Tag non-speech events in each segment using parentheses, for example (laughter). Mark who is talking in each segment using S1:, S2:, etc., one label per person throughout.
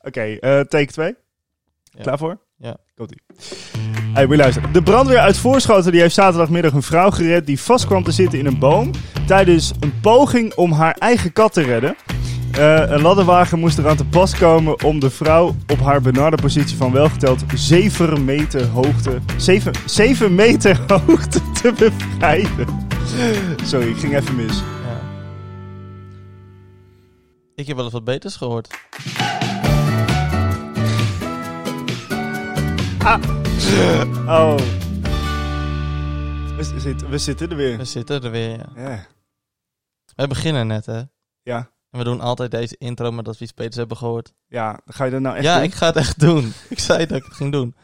S1: eh, take 2.
S2: Ja.
S1: Klaar voor?
S2: Ja.
S1: Komt-ie. Hey, moet je luisteren. De brandweer uit Voorschoten die heeft zaterdagmiddag een vrouw gered die vast kwam te zitten in een boom tijdens een poging om haar eigen kat te redden. Eh, een ladderwagen moest eraan te pas komen om de vrouw op haar benarde positie van welgeteld 7 meter hoogte, 7, 7 meter (laughs) hoogte te bevrijden. Sorry, ik ging even mis.
S2: Ja. Ik heb wel eens wat beters gehoord.
S1: Oh. We, zit- we zitten er weer.
S2: We zitten er weer, ja.
S1: Ja.
S2: We beginnen net, hè.
S1: Ja.
S2: En we doen altijd deze intro met dat we iets beters hebben gehoord.
S1: Ja, ga je dat nou echt
S2: ja,
S1: doen?
S2: ik ga het echt doen. (laughs) Ik zei dat ik het ging doen.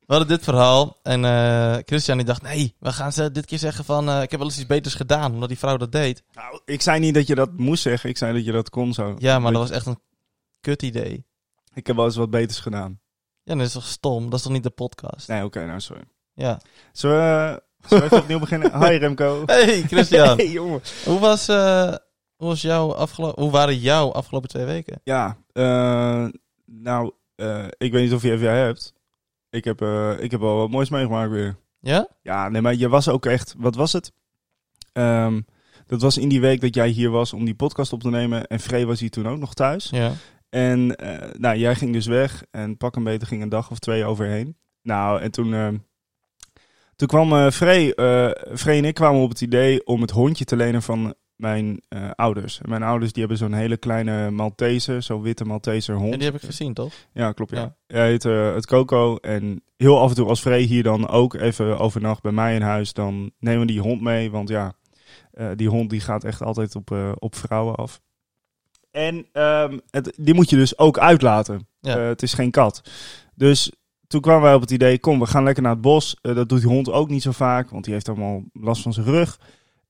S2: We hadden dit verhaal en eh, Christian die dacht, nee, we gaan ze dit keer zeggen van, eh, ik heb wel eens iets beters gedaan, omdat die vrouw dat deed.
S1: Nou, ik zei niet dat je dat moest zeggen. Ik zei dat je dat kon zo.
S2: Ja, maar dat was echt een kut idee.
S1: Ik heb wel eens wat beters gedaan.
S2: Ja, dat is toch stom? Dat is toch niet de podcast?
S1: Nee, oké, nou sorry.
S2: Ja.
S1: Zullen
S2: (laughs)
S1: we, zullen we even opnieuw beginnen? Hi Remco.
S2: Hey,
S1: (laughs)
S2: Christian.
S1: Hey, jongen.
S2: Hoe was, eh, hoe was jouw afgelopen, hoe waren jouw afgelopen twee weken?
S1: Ja, eh, nou, eh, ik weet niet of je even jij hebt. Ik heb, eh, ik heb wel wat moois meegemaakt weer.
S2: Ja?
S1: Ja, nee, maar je was ook echt... Wat was het? Ehm, dat was in die week dat jij hier was om die podcast op te nemen. En Frey was hier toen ook nog thuis.
S2: Ja.
S1: En eh, nou, jij ging dus weg en pak een beter ging een dag of twee overheen. Nou, en toen, eh, toen kwam eh Frey, eh, Frey en ik kwamen op het idee om het hondje te lenen van mijn eh, ouders. En mijn ouders die hebben zo'n hele kleine Malteser, zo'n witte Malteser hond.
S2: En die heb ik gezien, toch?
S1: Ja, klopt. Ja.
S2: Ja.
S1: Hij heet eh, het Coco. En heel af en toe, als Frey hier dan ook even overnacht bij mij in huis, dan nemen we die hond mee. Want ja, eh, die hond die gaat echt altijd op, eh, op vrouwen af. En ehm, het, die moet je dus ook uitlaten.
S2: Ja.
S1: Eh, het is geen kat. Dus toen kwamen wij op het idee, kom, we gaan lekker naar het bos. Eh, dat doet die hond ook niet zo vaak, want die heeft allemaal last van zijn rug.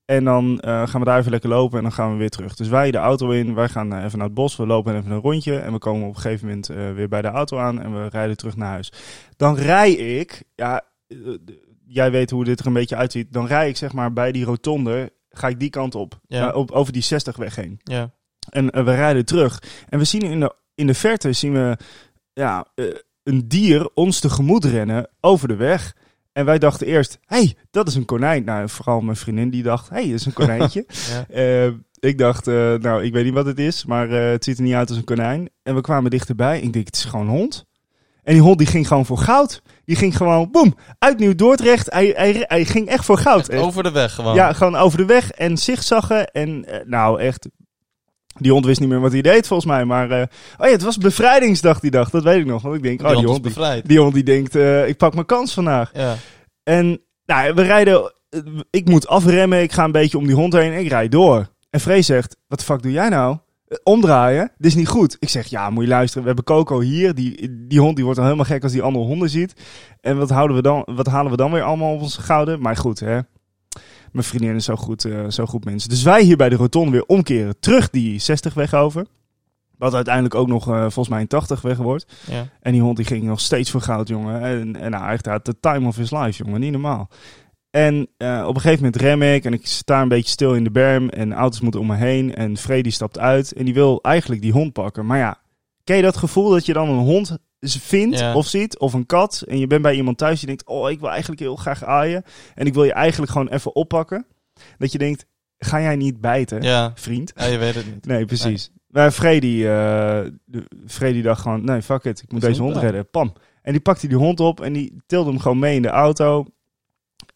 S1: En dan eh, gaan we daar even lekker lopen en dan gaan we weer terug. Dus wij de auto in, wij gaan eh, even naar het bos, we lopen even een rondje. En we komen op een gegeven moment eh, weer bij de auto aan en we rijden terug naar huis. Dan rij ik, ja, eh, jij weet hoe dit er een beetje uitziet. Dan rij ik zeg maar bij die rotonde, ga ik die kant op,
S2: Ja.
S1: eh, op over die 60 weg heen.
S2: Ja.
S1: En eh, we rijden terug. En we zien in de, in de verte zien we, ja, eh, een dier ons tegemoet rennen over de weg. En wij dachten eerst, hé, hey, dat is een konijn. Nou, vooral mijn vriendin die dacht, hé, hey, dat is een konijntje.
S2: ja.
S1: Eh, ik dacht, eh, nou, ik weet niet wat het is, maar eh, het ziet er niet uit als een konijn. En we kwamen dichterbij en ik denk, het is gewoon een hond. En die hond die ging gewoon voor goud. Die ging gewoon, boem, uit Nieuw-Dordrecht. Hij, hij, hij ging echt voor goud. En-
S2: Over de weg gewoon.
S1: ja, gewoon over de weg en zigzaggen. En eh, nou, echt. Die hond wist niet meer wat hij deed, volgens mij. Maar. eh, oh ja, het was bevrijdingsdag die dag. Dat weet ik nog. Want ik denk,
S2: Die
S1: oh,
S2: hond
S1: die
S2: is
S1: hond, die,
S2: bevrijd.
S1: die hond die denkt, eh, ik pak mijn kans vandaag.
S2: Ja.
S1: En nou, we rijden. eh, Ik moet afremmen. Ik ga een beetje om die hond heen. Ik rijd door. En Vrees zegt: Wat de fuck doe jij nou? Eh, Omdraaien, dit is niet goed. Ik zeg, ja, moet je luisteren. We hebben Coco hier. Die, die hond die wordt dan helemaal gek als die andere honden ziet. En wat, houden we dan, wat halen we dan weer allemaal op ons gouden? Maar goed, hè. Mijn vriendin is zo goed, eh, zo goed mensen. Dus wij hier bij de rotonde weer omkeren. Terug die 60 weg over. Wat uiteindelijk ook nog eh, volgens mij een 80 weg wordt.
S2: Ja.
S1: En die hond die ging nog steeds voor goud, jongen. En, en nou, echt had de time of his life, jongen. Niet normaal. En eh, op een gegeven moment rem ik en ik sta een beetje stil in de berm. En auto's moeten om me heen. En Freddy stapt uit en die wil eigenlijk die hond pakken. Maar ja, ken je dat gevoel dat je dan een hond z- vindt
S2: Ja.
S1: of ziet of een kat? En je bent bij iemand thuis die denkt, oh, ik wil eigenlijk heel graag aaien. En ik wil je eigenlijk gewoon even oppakken. Dat je denkt, ga jij niet bijten,
S2: Ja.
S1: vriend?
S2: Ja, je weet het niet.
S1: Nee, precies. Maar Freddy, eh, de- Freddy dacht gewoon, nee, fuck it, ik moet
S2: Dat is
S1: deze hond
S2: hond, ja.
S1: redden. Pam. En die pakte die hond op en die tilde hem gewoon mee in de auto.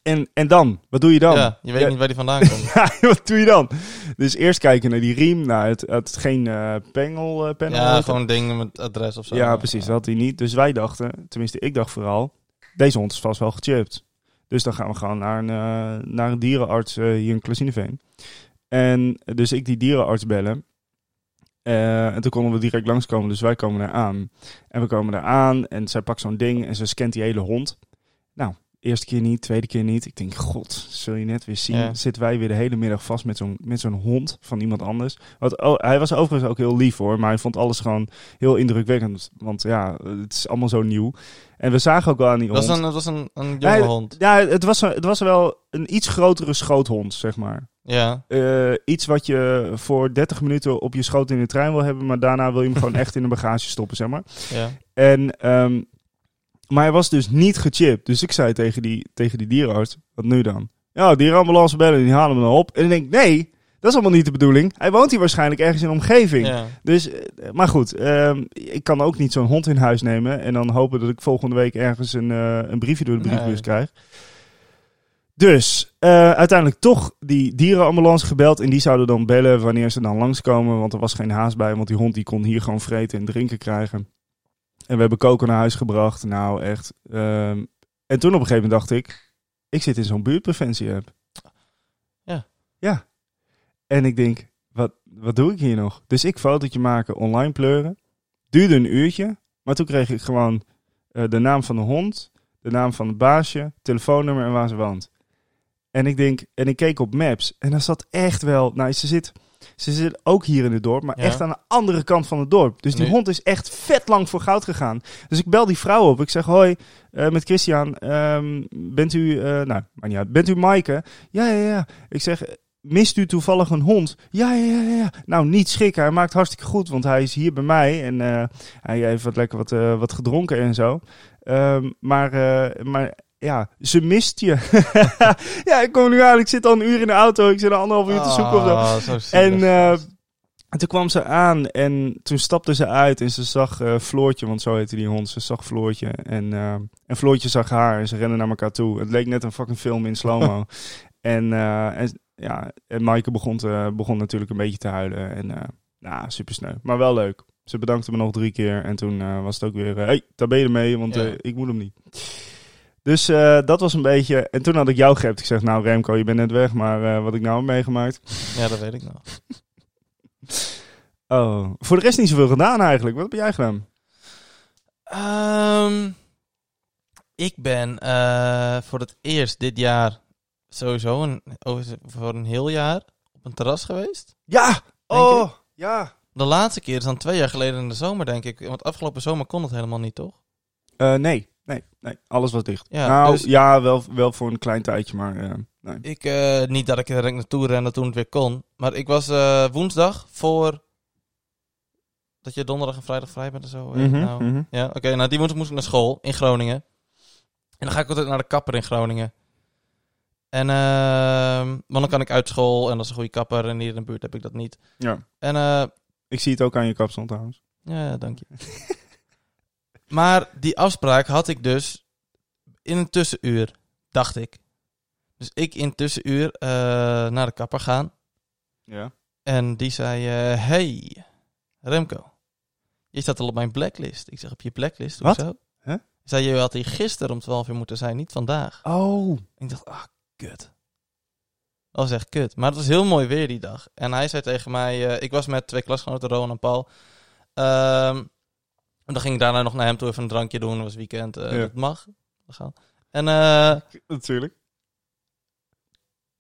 S1: En, en dan? Wat doe je dan?
S2: Ja, je weet
S1: Ja.
S2: niet waar die vandaan komt.
S1: (laughs) Ja, wat doe je dan? Dus eerst kijken naar die riem. Nou, het het had geen eh pengel, eh, panel.
S2: Ja,
S1: heet
S2: gewoon dingen met adres of zo.
S1: ja, precies. Dat had hij niet. Dus wij dachten, tenminste ik dacht vooral, deze hond is vast wel gechipt. Dus dan gaan we gewoon naar een, eh, naar een dierenarts eh, hier in Klasineveen. En dus ik die dierenarts bellen. Eh, en toen konden we direct langskomen, dus wij komen daar aan. En we komen daar aan en zij pakt zo'n ding en ze scant die hele hond. Nou, eerste keer niet, tweede keer niet. Ik denk, god, zul je net weer zien.
S2: Ja.
S1: Zitten wij weer de hele middag vast met zo'n, met zo'n hond van iemand anders. Want, oh, hij was overigens ook heel lief hoor, maar hij vond alles gewoon heel indrukwekkend. Want ja, het is allemaal zo nieuw. En we zagen ook wel aan die
S2: Het was
S1: hond.
S2: een, het was een, een jonge
S1: Nee,
S2: hond.
S1: Ja, het was, een- het was wel een iets grotere schoothond, zeg maar.
S2: Ja.
S1: Eh, iets wat je voor 30 minuten op je schoot in de trein wil hebben, maar daarna wil je hem
S2: (laughs)
S1: gewoon echt in de bagage stoppen, zeg maar.
S2: ja.
S1: En, ehm, maar hij was dus niet gechipt. Dus ik zei tegen die, tegen die dierenarts, wat nu dan? Ja, dierenambulance bellen, die halen hem dan op. En ik denk, nee, dat is allemaal niet de bedoeling. Hij woont hier waarschijnlijk ergens in de omgeving.
S2: ja.
S1: Dus, eh, maar goed, ehm, ik kan ook niet zo'n hond in huis nemen en dan hopen dat ik volgende week ergens een, eh, een briefje door de
S2: Nee.
S1: briefbus krijg. Dus eh, uiteindelijk toch die dierenambulance gebeld en die zouden dan bellen wanneer ze dan langskomen, want er was geen haast bij, want die hond die kon hier gewoon vreten en drinken krijgen. En we hebben Coco naar huis gebracht, nou echt. ehm, en toen op een gegeven moment dacht ik, ik zit in zo'n buurtpreventie-app.
S2: Ja.
S1: Ja. En ik denk, wat, wat doe ik hier nog? Dus ik fotootje maken, online pleuren. Duurde een uurtje, maar toen kreeg ik gewoon eh, de naam van de hond, de naam van het baasje, telefoonnummer en waar ze woont. En ik denk, en ik keek op maps en daar zat echt wel, nou ze zit, ze zit ook hier in het dorp, maar
S2: Ja.
S1: echt aan de andere kant van het dorp. Dus die
S2: Nu-
S1: hond is echt vet lang voor goud gegaan. Dus ik bel die vrouw op, ik zeg hoi, eh, met Christian, ehm, bent u, eh, nou, maar niet uit, bent u Maaike? Ja, ja, ja. Ik zeg, mist u toevallig een hond? Ja, ja, ja, ja, ja. Nou, niet schikken. Hij maakt hartstikke goed, want hij is hier bij mij. En eh, hij heeft wat lekker wat, eh, wat gedronken en zo. Ehm, maar, eh, maar ja, ze mist je. (laughs) ja, ik kom nu aan. Ik zit al een uur in de auto. Ik zit al anderhalf uur te zoeken of zo.
S2: Ah, zo
S1: En
S2: zielig.
S1: eh, en toen kwam ze aan en toen stapte ze uit en ze zag eh, Floortje, want zo heette die hond. Ze zag Floortje en, eh, en Floortje zag haar en ze renden naar elkaar toe. Het leek net een fucking film in slow-mo. en, eh, en, ja, en Maaike begon, te- begon natuurlijk een beetje te huilen. En eh nou, super sneu, maar wel leuk. Ze bedankte me nog drie keer en toen eh, was het ook weer, eh, hey, daar ben je ermee, want
S2: Ja.
S1: eh, ik moet hem niet. Dus eh, dat was een beetje, en toen had ik jou geappt. Ik zeg, nou Remco, je bent net weg, maar eh, wat ik nou heb meegemaakt.
S2: Ja, dat weet ik nog.
S1: Oh, voor de rest niet zoveel gedaan eigenlijk. Wat heb jij gedaan?
S2: Ehm, ik ben eh, voor het eerst dit jaar sowieso een, over- voor een heel jaar op een terras geweest.
S1: Ja!
S2: Oh,
S1: ja!
S2: De laatste keer is dan twee jaar geleden in de zomer, denk ik. Want afgelopen zomer kon het helemaal niet, toch?
S1: Eh, nee, nee, nee. Alles was dicht.
S2: Ja,
S1: nou,
S2: dus-
S1: ja, wel, wel voor een klein tijdje, maar eh, nee.
S2: Ik, eh, niet dat ik er direct naartoe rende toen het weer kon. Maar ik was eh, woensdag voor... Dat je donderdag en vrijdag vrij bent en zo. eh,
S1: Mhm,
S2: nou.
S1: mhm.
S2: Ja, oké. nou, die woensdag moest ik naar school in Groningen. En dan ga ik altijd naar de kapper in Groningen. En, ehm want dan kan ik uit school en dat is een goede kapper. En hier in de buurt heb ik dat niet.
S1: Ja.
S2: En, eh,
S1: Ik zie het ook aan je kapsel trouwens.
S2: ja, dank je. (laughs) maar die afspraak had ik dus in een tussenuur, dacht ik. Dus ik in tussenuur eh, naar de kapper gaan.
S1: Ja.
S2: En die zei: eh, Hey, Remco, je staat al op mijn blacklist. Ik zeg: Op je blacklist?
S1: Wat?
S2: Hoezo?
S1: Hè?
S2: Zei je had hier gisteren om 12 uur moeten zijn, niet vandaag.
S1: Oh.
S2: En ik dacht: Ah, kut. Dat was echt kut. Maar het was heel mooi weer die dag. En hij zei tegen mij: eh, Ik was met twee klasgenoten, Rowan en Paul. Ehm, en dan ging ik daarna nog naar hem toe even een drankje doen. Het was weekend. eh,
S1: Ja.
S2: Dat mag. We gaan. En eh,
S1: Natuurlijk.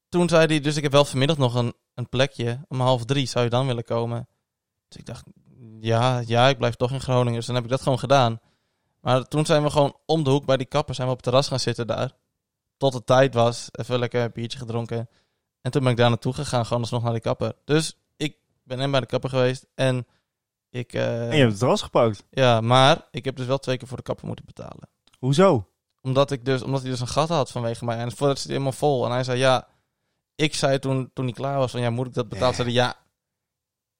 S2: toen zei hij, dus ik heb wel vanmiddag nog een, een plekje. Om half drie zou je dan willen komen? Dus ik dacht, ja, ja, ik blijf toch in Groningen. Dus dan heb ik dat gewoon gedaan. Maar toen zijn we gewoon om de hoek bij die kapper, zijn we op het terras gaan zitten daar. Tot het tijd was, even lekker een biertje gedronken. En toen ben ik daar naartoe gegaan, gewoon alsnog naar die kapper. Dus ik ben hem bij de kapper geweest en ik... eh,
S1: En je hebt het terras gepakt.
S2: ja, maar ik heb dus wel twee keer voor de kapper moeten betalen
S1: Hoezo?
S2: omdat, ik dus, omdat hij dus een gat had vanwege mij. En voordat zit hij helemaal vol. En hij zei ja. Ik zei toen, toen hij klaar was van ja, moet ik dat betalen? Zei hij ja,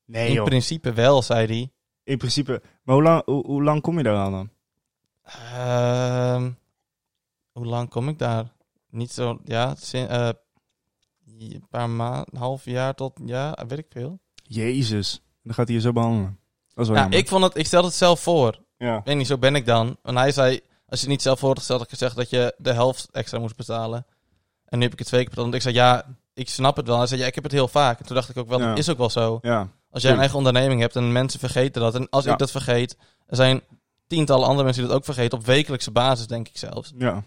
S1: Nee
S2: in principe wel, zei hij.
S1: In principe. Maar hoe lang, hoe, hoe lang kom je daar aan dan?
S2: Ehm, hoe lang kom ik daar? Niet zo, ja, sin- eh, een paar maanden, een half jaar tot, ja, weet ik veel.
S1: Jezus. Dan gaat hij je zo behandelen. Dat is wel
S2: Nou,
S1: jammer.
S2: ik vond het, ik stelde het zelf voor.
S1: Ja.
S2: weet niet, zo ben ik dan. En hij zei, als je het niet zelf voor had gesteld, had ik gezegd dat je de helft extra moest betalen. En nu heb ik het twee keer betaald. Want ik zei, ja, ik snap het wel. Hij zei, ja, ik heb het heel vaak. En toen dacht ik ook wel,
S1: Ja.
S2: dat is ook wel zo.
S1: Ja.
S2: Als jij een
S1: tuurlijk.
S2: eigen onderneming hebt en mensen vergeten dat. En als
S1: Ja.
S2: ik dat vergeet, er zijn tientallen andere mensen die dat ook vergeten. Op wekelijkse basis, denk ik zelfs.
S1: Ja.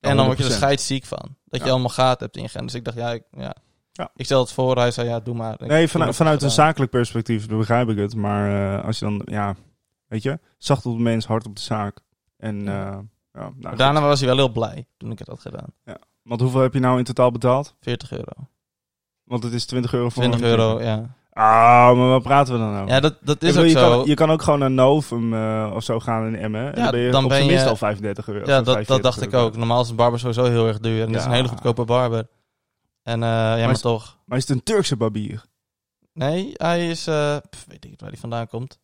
S2: en dan word je dus er
S1: 100%.
S2: scheidsziek van. Dat
S1: Ja.
S2: je allemaal gaat hebt ingegaan. Dus ik dacht, ja, ik, ja.
S1: Ja.
S2: ik stel het voor. Hij zei, ja, doe maar. Ik-
S1: Nee,
S2: toen heb
S1: vanuit,
S2: ik
S1: vanuit een
S2: het gedaan.
S1: zakelijk perspectief begrijp ik het. Maar eh, als je dan, ja, weet je, zacht op de mens, hard op de zaak. En eh,
S2: Ja.
S1: ja, nou, goed.
S2: Daarna was hij wel heel blij toen ik het had gedaan.
S1: Want hoeveel heb je nou in totaal betaald?
S2: 40 euro.
S1: Want het is 20 euro voor
S2: 20
S1: een-
S2: euro, ja.
S1: Ah, maar waar praten we dan over?
S2: Ja, dat, dat is
S1: Ik bedoel,
S2: ook
S1: je,
S2: zo.
S1: Kan, je kan ook gewoon naar Novum eh, of zo gaan in Emmen. en
S2: Ja,
S1: dan ben je
S2: dan
S1: op
S2: ben
S1: zijn minst
S2: je-
S1: al 35 euro.
S2: Ja,
S1: of
S2: dat, dat
S1: 45
S2: dacht ik
S1: euro.
S2: ook. Normaal is een barber sowieso heel erg duur. En dit is een
S1: Ja.
S2: hele goedkope barber. En eh, ja, maar
S1: is-
S2: toch.
S1: Maar is het een Turkse barbier?
S2: Nee, hij is... eh, pff, weet ik niet waar hij vandaan komt.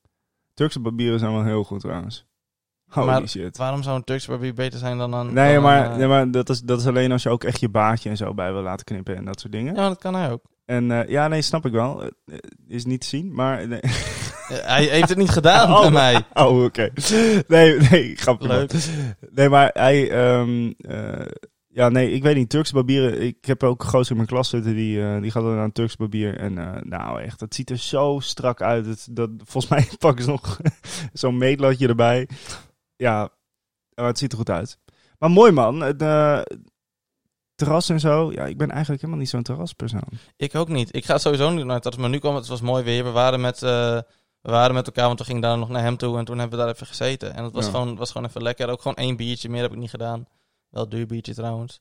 S1: Turkse barbieren zijn wel heel goed trouwens. Holy
S2: Maar-
S1: shit.
S2: Waarom zou een Turkse barbier beter zijn dan een...
S1: Nee,
S2: dan
S1: maar,
S2: een, eh,
S1: nee, maar dat, is, dat is alleen als je ook echt je baardje en zo bij wil laten knippen en dat soort dingen.
S2: Ja, dat kan hij ook.
S1: En eh, ja, nee, snap ik wel. Eh, eh, is niet te zien, maar... Nee.
S2: Eh, hij heeft het niet
S1: (laughs)
S2: gedaan
S1: Oh.
S2: bij mij.
S1: Oh, oké. Nee, nee, grapje. man.
S2: Leuk.
S1: Nee, maar hij... ehm, eh, ja, nee, ik weet niet. Turkse barbieren... Ik heb ook een gozer in mijn klas zitten. Die, eh, die gaat dan naar een Turkse barbier. En eh, nou, echt. Dat ziet er zo strak uit. Het, dat, volgens (laughs) mij pakken ze nog zo'n meetlatje erbij. Ja, maar het ziet er goed uit. Maar mooi, man. Het, eh, terras en zo. Ja, ik ben eigenlijk helemaal niet zo'n terraspersoon.
S2: Ik ook niet. Ik ga sowieso niet naar het terras. Maar nu kwam het, het was mooi weer. We waren met, eh, we waren met elkaar, want we gingen daar nog naar hem toe. En toen hebben we daar even gezeten. En het was,
S1: Ja.
S2: gewoon, was gewoon even lekker. Ook gewoon één biertje. Meer heb ik niet gedaan. Wel duur biertje trouwens.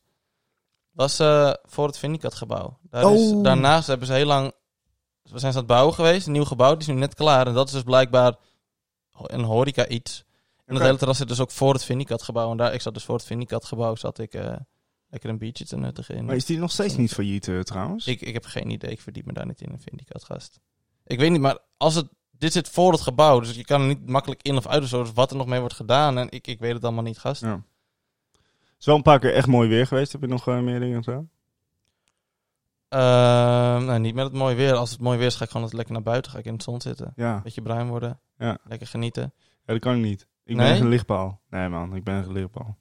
S2: Was eh, voor het Vindicat gebouw. Daar is,
S1: Oh.
S2: daarnaast hebben ze heel lang... We zijn ze aan het bouwen geweest. Een nieuw gebouw. Die is nu net klaar. En dat is dus blijkbaar ho- een horeca iets. En dat
S1: Oké.
S2: hele terras zit dus ook voor het Vindicat gebouw. En daar, ik zat dus voor het Vindicat gebouw. Zat ik eh, lekker een biertje te nuttigen in.
S1: Maar is die nog steeds niet failliet, eh, trouwens?
S2: Dus Ik, ik heb geen idee. Ik verdiep me daar niet in, een Vindicat gast. Ik weet niet, maar als het, dit zit voor het gebouw. Dus je kan er niet makkelijk in of uit of zo. Dus wat er nog mee wordt gedaan. En ik, ik weet het allemaal niet, gast.
S1: Ja. Het is wel een paar keer echt mooi weer geweest. Heb je nog eh, meer dingen gedaan?
S2: Ehm, nou, niet met het mooie weer. Als het mooi weer is, ga ik gewoon altijd lekker naar buiten. Ga ik in het zon zitten.
S1: Ja.
S2: Beetje bruin worden.
S1: Ja.
S2: Lekker genieten.
S1: ja, dat kan ik niet. Ik
S2: Nee?
S1: ben echt een lichtpaal. Nee man, ik ben echt een lichtpaal.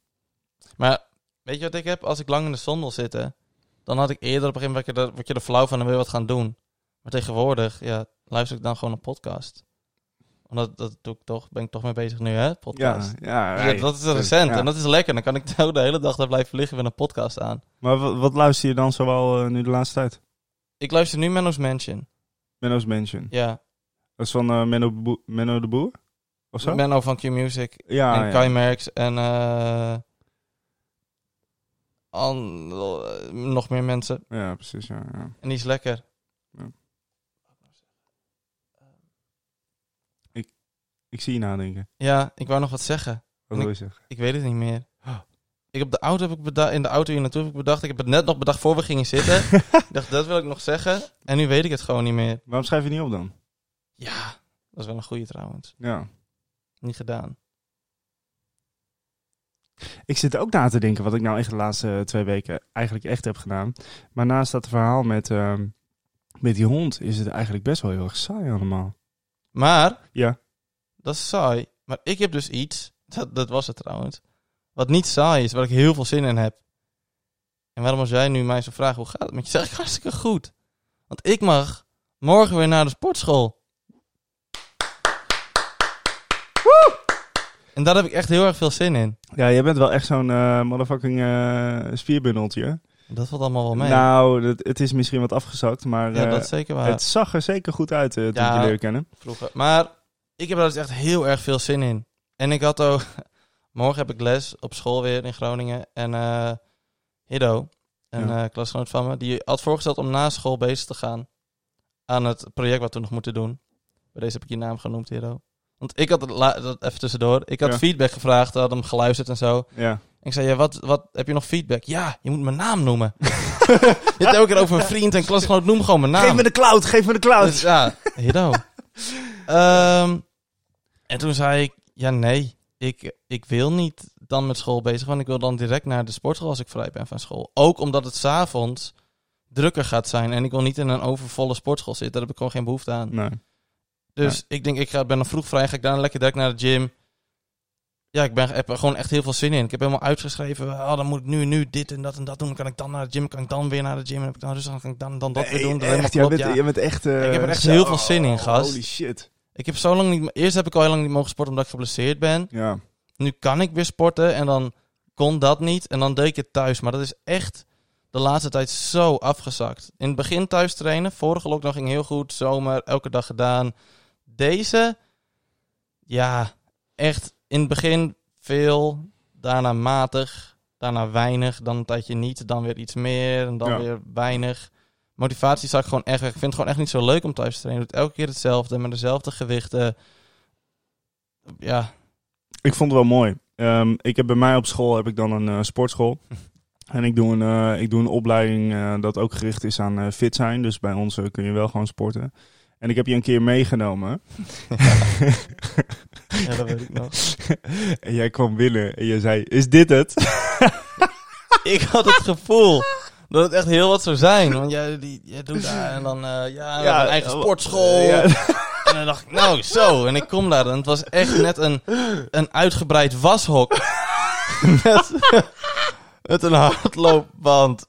S2: Maar weet je wat ik heb? Als ik lang in de zon wil zitten, dan had ik eerder op een gegeven moment word je er- word je er flauw van en wil je wat gaan doen. Maar tegenwoordig, ja, luister ik dan gewoon een podcast. Omdat dat doe ik toch, ben ik toch mee bezig nu, hè? Podcast.
S1: Ja, ja,
S2: Dus
S1: hey.
S2: dat- dat is recent
S1: Ja.
S2: en dat is lekker. Dan kan ik (laughs) nou de hele dag daar blijven liggen met een podcast aan.
S1: Maar wat, wat luister je dan zoal eh, nu de laatste tijd?
S2: Ik luister nu Menno's Mansion.
S1: Menno's Mansion.
S2: Ja,
S1: Dat is van eh, Menno, Bo- Menno de Boer? Of zo? Ah,
S2: Menno van Q-Music
S1: ja,
S2: en
S1: ja.
S2: Kai Merks en eh, an- eh, nog meer mensen.
S1: ja, precies. Ja, ja.
S2: En die is lekker.
S1: Ik zie je nadenken.
S2: Ja, ik wou nog wat zeggen.
S1: Wat
S2: En
S1: wil je zeggen?
S2: Ik weet het niet meer. (gasps) Ik heb de auto heb ik beda- in de auto hier naartoe heb ik bedacht. Ik heb het net nog bedacht voor we gingen zitten.
S1: (laughs)
S2: ik dacht, dat wil ik nog zeggen. En nu weet ik het gewoon niet meer.
S1: Waarom schrijf je niet op dan?
S2: Ja, dat is wel een goede trouwens.
S1: Ja.
S2: Niet gedaan.
S1: Ik zit ook na te denken wat ik nou echt de laatste twee weken eigenlijk echt heb gedaan. Maar naast dat verhaal met, ehm, met die hond is het eigenlijk best wel heel erg saai allemaal.
S2: Maar,
S1: Ja.
S2: dat is saai. Maar ik heb dus iets, (laughs) dat, dat was het trouwens, wat niet saai is, waar ik heel veel zin in heb. En waarom als jij nu mij zo vraagt, hoe gaat het met je? (laughs) Zeg ik hartstikke goed. Want ik mag morgen weer naar de sportschool. En daar heb ik echt heel erg veel zin in.
S1: Ja, jij bent wel echt zo'n eh, motherfucking eh spierbundeltje. hè?
S2: Dat valt allemaal wel mee.
S1: Nou, dat, het is misschien wat afgezakt, maar
S2: ja,
S1: eh,
S2: dat is zeker waar.
S1: het zag er zeker goed uit eh toen
S2: Ja.
S1: ik je leerde kennen.
S2: vroeger. Maar ik heb daar dus echt heel erg veel zin in. En ik had ook... (laughs) Morgen heb ik les op school weer in Groningen. En eh Hiddo, een
S1: Ja.
S2: eh, klasgenoot van me, die had voorgesteld om na school bezig te gaan aan het project wat we nog moeten doen. Bij deze heb ik je naam genoemd, Hiddo. Want ik had, het la- dat even tussendoor, ik had
S1: Ja.
S2: feedback gevraagd, had hem geluisterd en zo.
S1: Ja.
S2: En ik zei, ja, wat, wat, heb je nog feedback? Ja, je moet mijn naam noemen. (laughs) je hebt elke keer over een vriend en klasgenoot, noem gewoon mijn naam.
S1: Geef me de cloud, geef me de cloud.
S2: Nou. Dus ja, hiddo. Ehm, en toen zei ik, ja nee, ik, ik wil niet dan met school bezig, want ik wil dan direct naar de sportschool als ik vrij ben van school. Ook omdat het s'avonds drukker gaat zijn en ik wil niet in een overvolle sportschool zitten, daar heb ik gewoon geen behoefte aan.
S1: nee.
S2: Dus ik denk, ik ga, ben nog vroeg vrij, ga ik daarna lekker direct naar de gym. Ja, ik ben, heb er gewoon echt heel veel zin in. Ik heb helemaal uitgeschreven, oh, dan moet ik nu en nu dit en dat en dat doen. Dan kan ik dan naar de gym, kan ik dan weer naar de gym. En heb ik dan rustig, dan kan ik dan, dan dat weer doen. Dat
S1: Hey,
S2: helemaal
S1: Eh, echt, jij
S2: klopt,
S1: bent,
S2: ja.
S1: jij bent echt... eh,
S2: Ik heb er echt
S1: zo-
S2: heel veel zin in, gast.
S1: Holy shit.
S2: Ik heb zo lang niet. Eerst heb ik al heel lang niet mogen sporten omdat ik geblesseerd ben.
S1: Ja.
S2: Nu kan ik weer sporten en dan kon dat niet. En dan deed ik het thuis. Maar dat is echt de laatste tijd zo afgezakt. In het begin thuis trainen. Vorige lockdown ging heel goed. Zomer, elke dag gedaan. Deze, ja, echt in het begin veel. Daarna matig. Daarna weinig. Dan een tijdje niet. Dan weer iets meer. En dan
S1: Ja.
S2: weer weinig. motivatie zag ik gewoon echt weg. Ik vind het gewoon echt niet zo leuk om thuis te trainen. Je doet elke keer hetzelfde, met dezelfde gewichten. Ja,
S1: Ik vond het wel mooi. Ehm, ik heb bij mij op school heb ik dan een eh, sportschool. En ik doe een, eh, ik doe een opleiding eh, dat ook gericht is aan eh, fit zijn. Dus bij ons eh, kun je wel gewoon sporten. En ik heb je een keer meegenomen. (laughs)
S2: ja dat weet ik nog.
S1: en jij kwam binnen en jij zei, is dit het?
S2: (laughs) ik had het gevoel dat het echt heel wat zou zijn. Want jij, die, jij doet daar en dan eh, ja, we hebben een eigen
S1: eh,
S2: sportschool.
S1: eh, ja.
S2: En dan dacht ik, nou zo. En ik kom daar en het was echt net een, een uitgebreid washok. (laughs) met, met een hardloopband.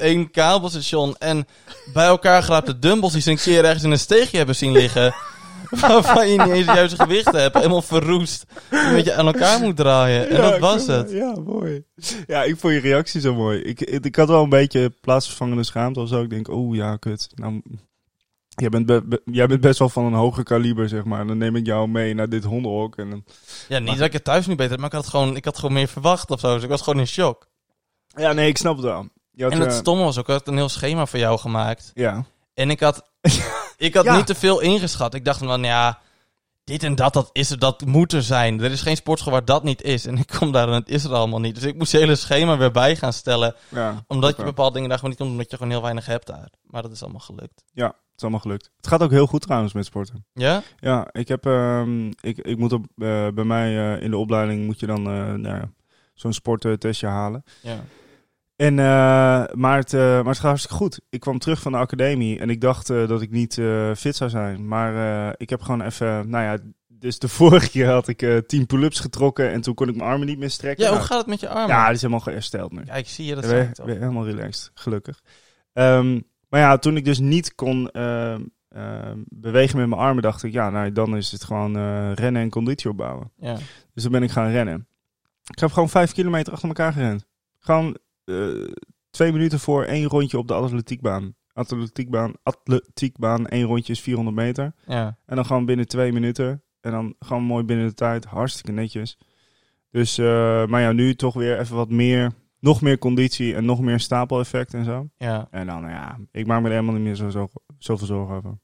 S2: Eén kabelstation en bij elkaar geraapte dumbbells die ze een keer ergens in een steegje hebben zien liggen. (laughs) Waarvan je niet eens het juiste gewicht hebt. Helemaal verroest. Een beetje aan elkaar moet draaien. En
S1: Ja,
S2: dat
S1: ik
S2: was
S1: vond-
S2: het.
S1: Ja, mooi. Ja, ik vond je reactie zo mooi. Ik, ik, ik had wel een beetje plaatsvervangende schaamte of zo. Ik denk, oh ja, kut. Nou, jij, bent be- be- jij bent best wel van een hoger kaliber, zeg maar. Dan neem ik jou mee naar dit hondenhok. En dan...
S2: Ja, niet
S1: Maar-
S2: dat ik het thuis nu beter heb, maar ik had, het gewoon, ik had gewoon meer verwacht of zo. Dus ik was gewoon in shock.
S1: Ja, nee, ik snap het wel. Je had,
S2: en het
S1: eh,
S2: stomme was ook, ik had een heel schema voor jou gemaakt.
S1: Ja.
S2: En ik
S1: (laughs)
S2: had, ik had
S1: Ja.
S2: niet te veel ingeschat. Ik dacht van, nou ja, dit en dat, dat is er, dat moet er zijn. Er is geen sportschool waar dat niet is. En ik kom daar en het is er allemaal niet. Dus ik moest je hele schema weer bij gaan stellen.
S1: ja.
S2: Omdat
S1: Oké.
S2: je bepaalde dingen daar gewoon niet komt, omdat je gewoon heel weinig hebt daar. Maar dat is allemaal gelukt.
S1: Het is allemaal gelukt. Het gaat ook heel goed trouwens met sporten.
S2: Ja?
S1: Ja, ik heb, ehm, ik, ik moet op, eh, bij mij eh, in de opleiding moet je dan eh, nou ja, zo'n sporttestje halen.
S2: Ja.
S1: En, eh, maar, het, eh, maar het gaat hartstikke goed. Ik kwam terug van de academie en ik dacht eh, dat ik niet eh, fit zou zijn. Maar eh, ik heb gewoon even, nou ja, dus de (laughs) vorige keer had ik eh 10 pull-ups getrokken en toen kon ik mijn armen niet meer strekken.
S2: ja, hoe
S1: Nou,
S2: gaat het met je armen?
S1: ja, die is helemaal gehersteld nu.
S2: Kijk, zie je, dat
S1: Ja,
S2: zei ik
S1: weer,
S2: toch.
S1: weer helemaal relaxed, gelukkig. Ehm, maar ja, toen ik dus niet kon ehm, ehm, bewegen met mijn armen, dacht ik, ja, nou, dan is het gewoon eh, rennen en conditie opbouwen.
S2: Ja.
S1: Dus dan ben ik gaan rennen. Ik heb gewoon vijf kilometer achter elkaar gerend. Gewoon eh, twee minuten voor één rondje op de atletiekbaan. Atletiekbaan, atletiekbaan, één rondje is 400 meter.
S2: ja.
S1: En dan gewoon binnen twee minuten. En dan gewoon mooi binnen de tijd. Hartstikke netjes. Dus, eh, maar ja, nu toch weer even wat meer. Nog meer conditie en nog meer stapeleffect en zo.
S2: ja.
S1: En dan, nou ja, ik maak me er helemaal niet meer zo, zo, zoveel zorgen over.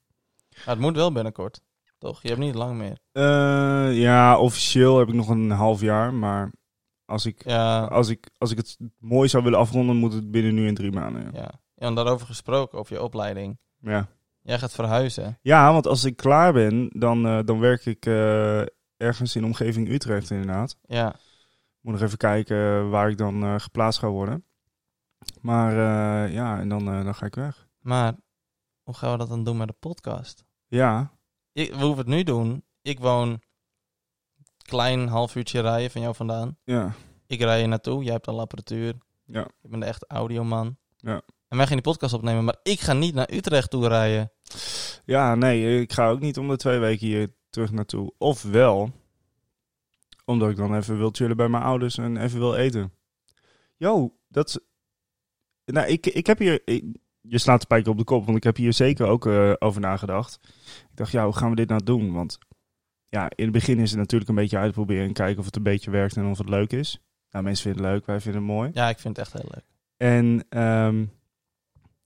S2: Maar het moet wel binnenkort. Toch? Je hebt niet lang meer.
S1: Eh, ja, officieel heb ik nog een half jaar. Maar als ik,
S2: Ja.
S1: als, ik, als ik het mooi zou willen afronden, moet het binnen nu in drie maanden. Ja.
S2: Ja. ja, en daarover gesproken, over je opleiding.
S1: Ja.
S2: Jij gaat verhuizen.
S1: Ja, want als ik klaar ben, dan, eh, dan werk ik eh, ergens in de omgeving Utrecht inderdaad.
S2: Ja,
S1: Moet nog even kijken eh, waar ik dan eh, geplaatst ga worden. Maar eh, ja, en dan, eh, dan ga ik weg.
S2: maar hoe gaan we dat dan doen met de podcast?
S1: Ja,
S2: Ik, we hoeven het nu doen. Ik woon een klein half uurtje rijden van jou vandaan.
S1: ja.
S2: Ik rij je naartoe. Jij hebt al apparatuur.
S1: Ja.
S2: Ik ben de echte audioman.
S1: Ja.
S2: En wij gaan die podcast opnemen, maar ik ga niet naar Utrecht toe rijden.
S1: Ja, nee, ik ga ook niet om de twee weken hier terug naartoe. Of wel, omdat ik dan even wil chillen bij mijn ouders en even wil eten. Yo, dat is... Nou, ik, ik heb hier... ik- je slaat de spijker op de kop, want ik heb hier zeker ook eh, over nagedacht. Ik dacht, ja, hoe gaan we dit nou doen? Want ja, in het begin is het natuurlijk een beetje uitproberen en kijken of het een beetje werkt en of het leuk is. Nou, mensen vinden het leuk, wij vinden het mooi.
S2: Ja, ik vind het echt heel leuk.
S1: En ehm,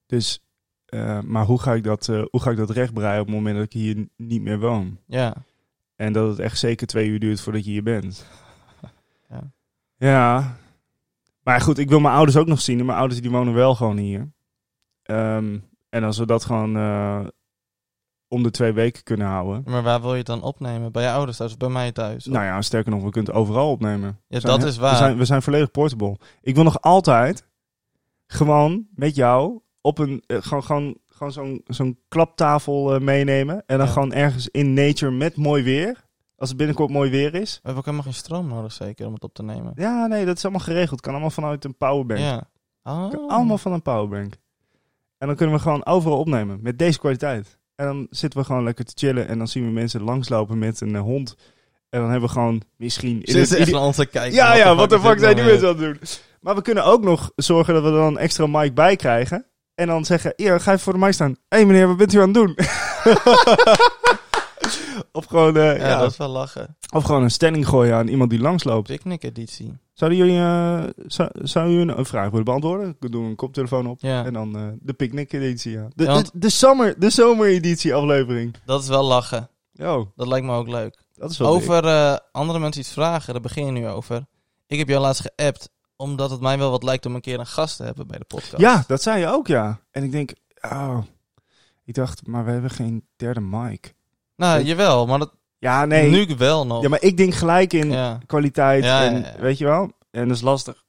S1: dus, eh, maar hoe ga ik dat, eh, hoe ga ik dat rechtbreien op het moment dat ik hier n- niet meer woon?
S2: Ja.
S1: En dat het echt zeker twee uur duurt voordat je hier bent.
S2: Ja.
S1: Ja. Maar goed, ik wil mijn ouders ook nog zien. en Mijn ouders die wonen wel gewoon hier. Ehm, en als we dat gewoon eh, om de twee weken kunnen houden.
S2: Maar waar wil je het dan opnemen? Bij je ouders thuis of bij mij thuis? Of-
S1: Nou ja, sterker nog, we kunnen het overal opnemen. We
S2: ja,
S1: zijn
S2: dat
S1: he-
S2: is waar.
S1: We zijn, we zijn volledig portable. Ik wil nog altijd gewoon met jou op een, eh, gewoon, gewoon, gewoon zo'n, zo'n klaptafel eh, meenemen. En dan
S2: Ja.
S1: gewoon ergens in nature met mooi weer. Als het binnenkort mooi weer is.
S2: We hebben ook helemaal geen stroom nodig, zeker, om het op te nemen.
S1: Ja, nee, dat is allemaal geregeld. Kan allemaal vanuit een powerbank.
S2: Ja.
S1: Kan
S2: Oh.
S1: allemaal van een powerbank. En dan kunnen we gewoon overal opnemen met deze kwaliteit. En dan zitten we gewoon lekker te chillen. En dan zien we mensen langslopen met een eh, hond. En dan hebben we gewoon misschien... in
S2: Zitten
S1: het
S2: ze echt
S1: ide-
S2: naar ons te kijken?
S1: Ja, ja, wat de
S2: is dit
S1: fuck zijn die
S2: nou weer?
S1: mensen aan het doen? Maar we kunnen ook nog zorgen dat we er dan een extra mic bij krijgen. En dan zeggen, hier, ga even voor de mic staan. Hé meneer, wat bent u aan het doen? (laughs) of, gewoon, eh,
S2: Ja,
S1: ja,
S2: dat is wel lachen.
S1: eh, of gewoon een stelling gooien aan iemand die langsloopt.
S2: Picknick editie.
S1: Zouden jullie eh, zou, zou jullie een, een vraag willen beantwoorden? Ik doe een koptelefoon op.
S2: Ja.
S1: En dan eh, de picknick-editie, ja. De,
S2: Ja, want-
S1: de, de, summer, de zomereditie-aflevering.
S2: Dat is wel lachen.
S1: Yo,
S2: Dat lijkt me ook leuk.
S1: dat is wel dik.
S2: Over eh, andere mensen iets vragen, daar begin je nu over. Ik heb jou laatst geappt, omdat het mij wel wat lijkt om een keer een gast te hebben bij de podcast.
S1: Ja, dat zei je ook, ja. En ik denk, oh. Ik dacht, maar we hebben geen derde mic.
S2: Nou, jawel, maar dat,
S1: Ja, nee.
S2: nu wel nog.
S1: Ja, maar ik denk gelijk in
S2: Ja.
S1: kwaliteit
S2: Ja,
S1: en
S2: ja, ja.
S1: weet je wel. En dat is lastig.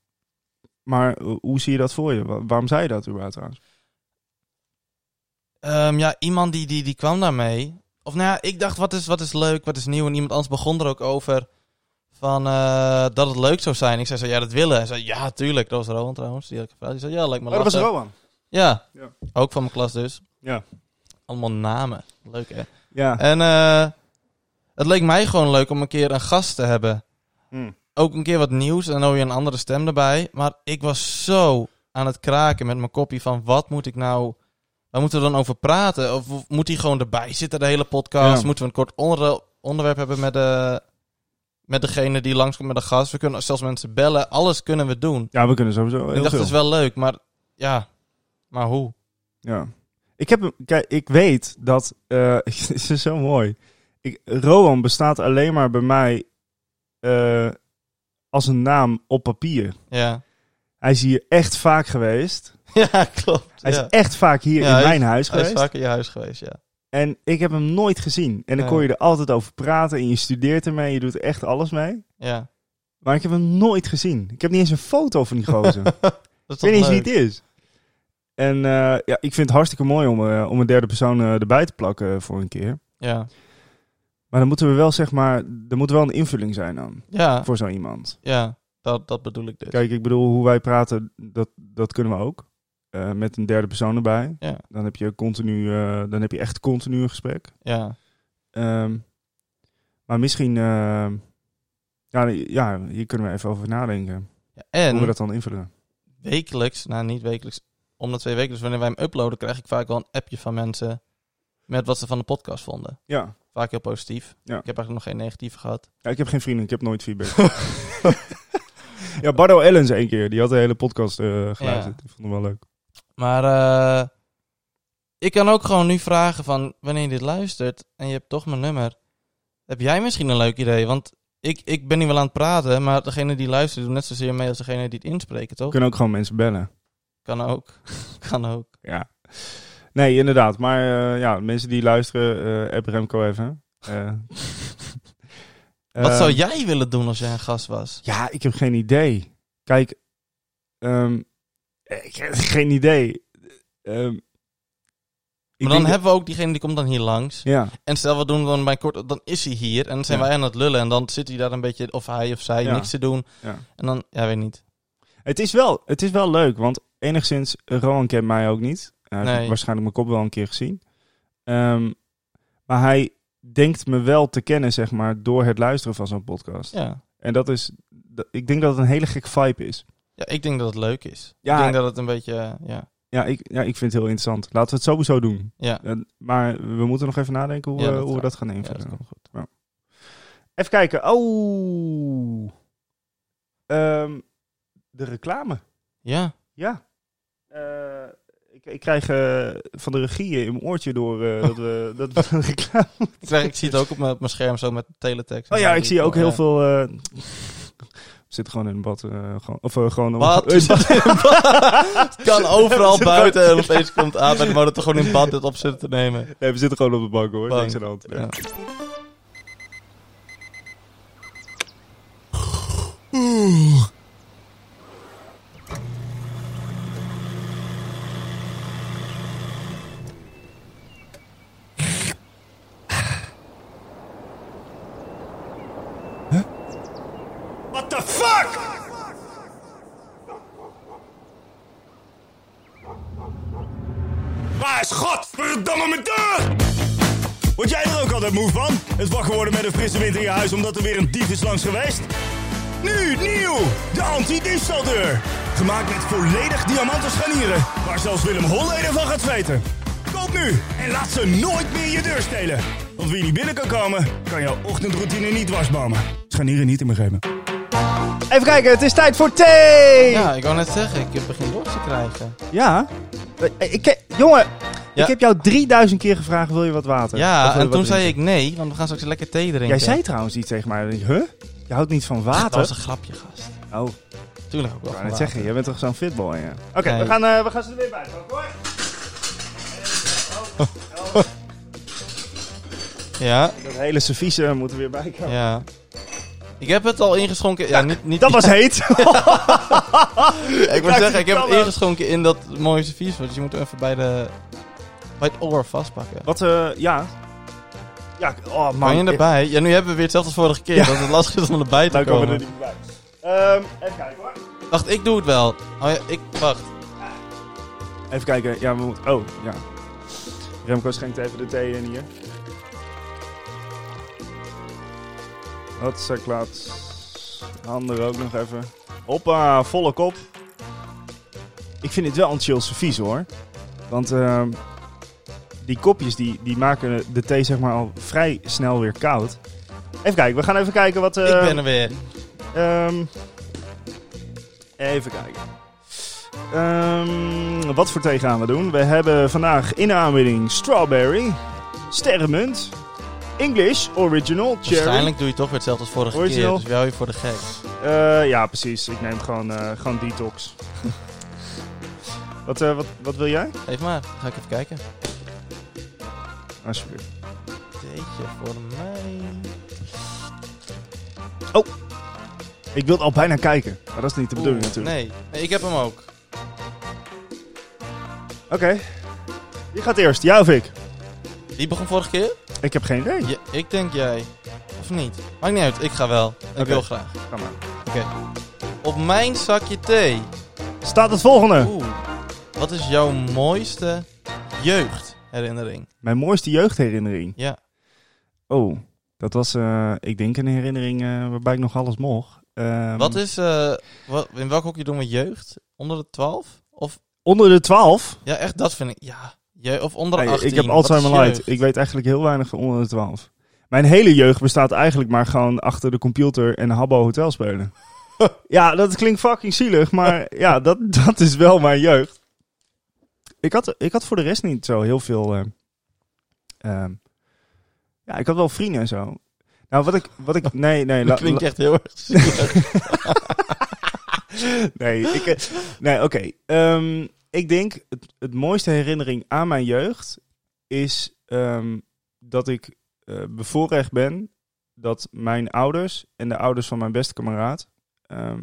S1: Maar eh, hoe zie je dat voor je? Wa- Waarom zei je dat überhaupt trouwens?
S2: Ehm, ja, iemand die, die, die kwam daarmee. Of nou ja, ik dacht, wat is, wat is leuk, wat is nieuw? En iemand anders begon er ook over van, eh, dat het leuk zou zijn. Ik zei zo, ja, dat willen. Hij zei, ja, tuurlijk. Dat was Rowan trouwens, die had ik gevraagd. Die zei, ja, lijkt me
S1: Oh, dat was
S2: lachen.
S1: Rowan.
S2: Ja.
S1: Ja.
S2: ook van mijn klas dus.
S1: Ja.
S2: Allemaal namen. Leuk, hè?
S1: Ja.
S2: En eh, het leek mij gewoon leuk om een keer een gast te hebben.
S1: Hm.
S2: Ook een keer wat nieuws en dan hoor je een andere stem erbij. Maar ik was zo aan het kraken met mijn kopie van wat moet ik nou... Waar moeten we dan over praten? Of of moet hij gewoon erbij zitten, de hele podcast?
S1: Ja.
S2: Moeten we een kort onder- onderwerp hebben met, de, met degene die langskomt met de gast? We kunnen zelfs mensen bellen. Alles kunnen we doen.
S1: Ja, we kunnen sowieso heel
S2: ik dacht,
S1: veel.
S2: het is wel leuk, maar ja. Maar hoe?
S1: Ja. Ik, heb, hem- kijk, ik weet dat... eh (laughs) het is zo mooi. Ik, Rowan bestaat alleen maar bij mij eh, als een naam op papier.
S2: Ja, (laughs)
S1: Hij is hier echt vaak geweest.
S2: ja klopt.
S1: Hij
S2: ja.
S1: is echt vaak hier
S2: Ja,
S1: in
S2: hij is-
S1: mijn huis
S2: Hij is
S1: geweest.
S2: vaak in je huis geweest, ja.
S1: En ik heb hem nooit gezien. En dan
S2: Ja.
S1: kon je er altijd over praten. En je studeert ermee. Je doet er echt alles mee.
S2: Ja.
S1: Maar ik heb hem nooit gezien. Ik heb niet eens een foto van die
S2: (laughs)
S1: gozer. ik
S2: Dat
S1: weet
S2: is
S1: niet eens
S2: toch
S1: wie
S2: leuk?
S1: het is. En eh, ja, ik vind het hartstikke mooi om, eh, om een derde persoon eh, erbij te plakken voor een keer.
S2: Ja.
S1: Maar dan moeten we wel, zeg maar, er moet wel een invulling zijn dan.
S2: Ja,
S1: Voor zo iemand.
S2: ja. Dat, dat bedoel ik dus.
S1: Kijk, ik bedoel, hoe wij praten, dat, dat kunnen we ook. Eh, met een derde persoon erbij.
S2: Ja.
S1: Dan heb je continu, eh, dan heb je echt continu een gesprek.
S2: Ja.
S1: Ehm, maar misschien, ehm, ja, ja, hier kunnen we even over nadenken.
S2: Ja,
S1: Hoe we
S2: En
S1: dat dan invullen.
S2: wekelijks, nou niet wekelijks, om de twee weken, dus wanneer wij hem uploaden, krijg ik vaak wel een appje van mensen met wat ze van de podcast vonden.
S1: Ja.
S2: Vaak heel positief.
S1: Ja.
S2: Ik heb eigenlijk nog geen negatieve gehad.
S1: ja, ik heb geen vrienden, ik heb nooit
S2: (laughs)
S1: feedback. ja, Bardo Ellens één keer, die had de hele podcast eh, geluisterd. Ik vond hem wel leuk.
S2: Maar eh, ik kan ook gewoon nu vragen van wanneer je dit luistert en je hebt toch mijn nummer. Heb jij misschien een leuk idee? Want ik, ik ben nu wel aan het praten, maar degene die luistert doet net zozeer mee als degene die het inspreken,
S1: We
S2: toch?
S1: kunnen ook gewoon mensen bellen.
S2: Kan ook. (laughs) kan ook.
S1: Ja. Nee, inderdaad. Maar eh, ja, mensen die luisteren, eh app Remco even. Eh, (laughs)
S2: Wat zou
S1: ehm,
S2: jij willen doen als jij een gast was?
S1: Ja, ik heb geen idee. Kijk, ehm, ik heb (laughs) geen idee. Ehm, ik
S2: Maar
S1: denk
S2: dan
S1: dat-
S2: hebben we ook diegene die komt dan hier langs.
S1: Ja,
S2: En stel, we doen dan bij kort, dan is hij hier. En dan zijn
S1: Ja.
S2: wij aan het lullen. En dan zit hij daar een beetje, of hij of zij,
S1: Ja.
S2: niks te doen.
S1: Ja.
S2: En dan, ja, weet niet.
S1: het is, wel, het is wel leuk, want enigszins, Rowan kent mij ook niet. Hij heeft
S2: Nee.
S1: waarschijnlijk mijn kop wel een keer gezien. Ehm, maar hij denkt me wel te kennen, zeg maar, door het luisteren van zo'n podcast.
S2: Ja.
S1: En dat is, dat- ik denk dat het een hele gek vibe is.
S2: ja, ik denk dat het leuk is.
S1: Ja.
S2: Ik denk dat het een beetje, eh, ja.
S1: Ja ik, ja, ik vind het heel interessant. Laten we het sowieso doen.
S2: Ja,
S1: En- Eh, maar we moeten nog even nadenken hoe,
S2: Ja,
S1: we-
S2: dat
S1: hoe we
S2: wel.
S1: dat gaan
S2: ja dat
S1: invullen.
S2: komt goed.
S1: Even kijken. Oh. Ehm, de reclame.
S2: Ja,
S1: Ja. Eh, ik, ik krijg eh, van de regie in mijn oortje door eh, dat
S2: (laughs)
S1: we dat we een reclame.
S2: ik, krijg, ik zie het ook op mijn, op mijn scherm zo met teletext.
S1: Oh ja, ik zie ook heel
S2: Oh Ja.
S1: veel. eh, we zitten gewoon in een bad. eh, gewoon, of eh, gewoon.
S2: Wat?
S1: (laughs) eh,
S2: Het (laughs) kan
S1: (laughs)
S2: overal
S1: Zit er-
S2: buiten. En opeens komt aan en we toch gewoon in bad dit op zitten te nemen.
S1: nee, we zitten gewoon op de bank hoor.
S2: Bank.
S1: Niks aan de hand.
S2: Ja.
S1: What the fuck?
S3: Waar is godverdomme mijn deur? Word jij er ook altijd moe van? Het wakker worden met een frisse wind in je huis omdat er weer een dief is langs geweest? Nu nieuw, de anti-diefstaldeur. Gemaakt met volledig diamanten scharnieren, waar zelfs Willem Holleder van gaat zweten. Koop nu en laat ze nooit meer je deur stelen. Want wie niet binnen kan komen, kan jouw ochtendroutine niet dwarsbomen. Scharnieren niet in mijn geven.
S1: Even kijken, het is tijd voor thee! Ja.
S2: Ja, ik wou net zeggen, ik begin dorst te krijgen.
S1: Eh, Ik, ke- jongen,
S2: Ja.
S1: ik heb jou 3000 keer gevraagd, wil je wat water? Of
S2: Ja,
S1: wil je
S2: en
S1: wat
S2: toen zei
S1: drinken?
S2: ik nee, want we gaan straks lekker thee drinken.
S1: Jij zei trouwens iets tegen mij. Huh? Je houdt niet van
S2: Dat was
S1: water?
S2: een grapje, gast.
S1: Oh, ik
S2: Tuurlijk ook wel.
S1: wou net
S2: van water.
S1: zeggen, jij bent toch zo'n fitboy, ja. Oké,
S2: Nee.
S1: we, gaan, eh, we gaan ze er weer bij pakken, hoor.
S2: Ja,
S1: Dat hele servies moeten weer bij komen.
S2: ja. Ik heb het al ingeschonken. Ja, niet, niet,
S1: Dat was
S2: (laughs)
S1: heet.
S2: ik wil
S1: raakte
S2: zeggen, ik heb het
S1: vertellen.
S2: ingeschonken in dat mooie servies. Dus je moet hem even bij, de, bij het oor vastpakken.
S1: Wat, eh, ja. Ja, oh man.
S2: Kan je erbij? Ja, nu hebben we weer hetzelfde als vorige keer.
S1: Ja. Nou,
S2: Dat het lastig is om erbij te
S1: Dan komen we er
S2: komen.
S1: niet bij. Ehm, even kijken hoor.
S2: Wacht, ik doe het wel. Oh ja, ik... Wacht.
S1: Even kijken. Ja, we moeten... Oh, ja. Remco schenkt even de thee in hier. Hatsaklaat. Handen er ook nog even. Hoppa, volle kop. Ik vind dit wel een chill servies hoor. Want ehm, die kopjes die, die maken de thee zeg maar al vrij snel weer koud. Even kijken, we gaan even kijken wat...
S2: ik
S1: eh,
S2: ben er weer.
S1: Ehm, even kijken. Ehm, wat voor thee gaan we doen? We hebben vandaag in de aanbieding strawberry, sterrenmunt, English, original, cherry.
S2: Waarschijnlijk doe je toch weer hetzelfde als vorige
S1: Original.
S2: keer. Dus we houden je voor de gek.
S1: Eh, ja, precies. Ik neem gewoon, eh, gewoon
S2: (laughs)
S1: detox. wat, eh, wat, wat wil jij?
S2: Geef maar. Ga ik even kijken.
S1: Alsjeblieft.
S2: Jeetje, voor mij...
S1: Ik wil al bijna kijken, maar dat is niet de bedoeling
S2: Oeh,
S1: natuurlijk.
S2: Nee. nee, ik heb hem ook.
S1: Oké. Wie gaat eerst? Jij of ik?
S2: Wie begon vorige keer?
S1: Ik heb geen idee.
S2: Ja, ik denk jij. Of niet? Maakt niet uit, ik ga wel. Ik
S1: Oké.
S2: wil graag.
S1: Ga maar.
S2: Oké. Op mijn zakje thee.
S1: Staat het volgende.
S2: Oeh. Wat is jouw mooiste jeugdherinnering?
S1: Mijn mooiste jeugdherinnering.
S2: Ja.
S1: Oh, dat was, eh, ik denk, een herinnering eh, waarbij ik nog alles mocht. Ehm,
S2: Wat is, eh, wa- in welk hokje doen we jeugd? Onder de 12? Of,
S1: Onder de 12?
S2: ja, echt, dat vind ik, ja. Je, of onder de
S1: Nee,
S2: 18?
S1: ik heb
S2: Wat is
S1: Alzheimer light.
S2: jeugd?
S1: Ik weet eigenlijk heel weinig van onder de 12. Mijn hele jeugd bestaat eigenlijk maar gewoon achter de computer en Habbo Hotel spelen. (laughs) ja, dat klinkt fucking zielig,
S2: (laughs)
S1: maar ja, dat, dat is wel mijn jeugd. Ik had, ik had voor de rest niet zo heel veel... eh, ehm, ja, ik had wel vrienden en zo. Nou, wat ik... Wat
S2: (laughs)
S1: ik nee, nee. la-
S2: Dat klinkt echt heel erg
S1: (laughs)
S2: zielig.
S1: Nee, ik, eh, nee oké. Ehm, ik denk, het, het mooiste herinnering aan mijn jeugd is ehm, dat ik eh, bevoorrecht ben dat mijn ouders en de ouders van mijn beste kameraad ehm,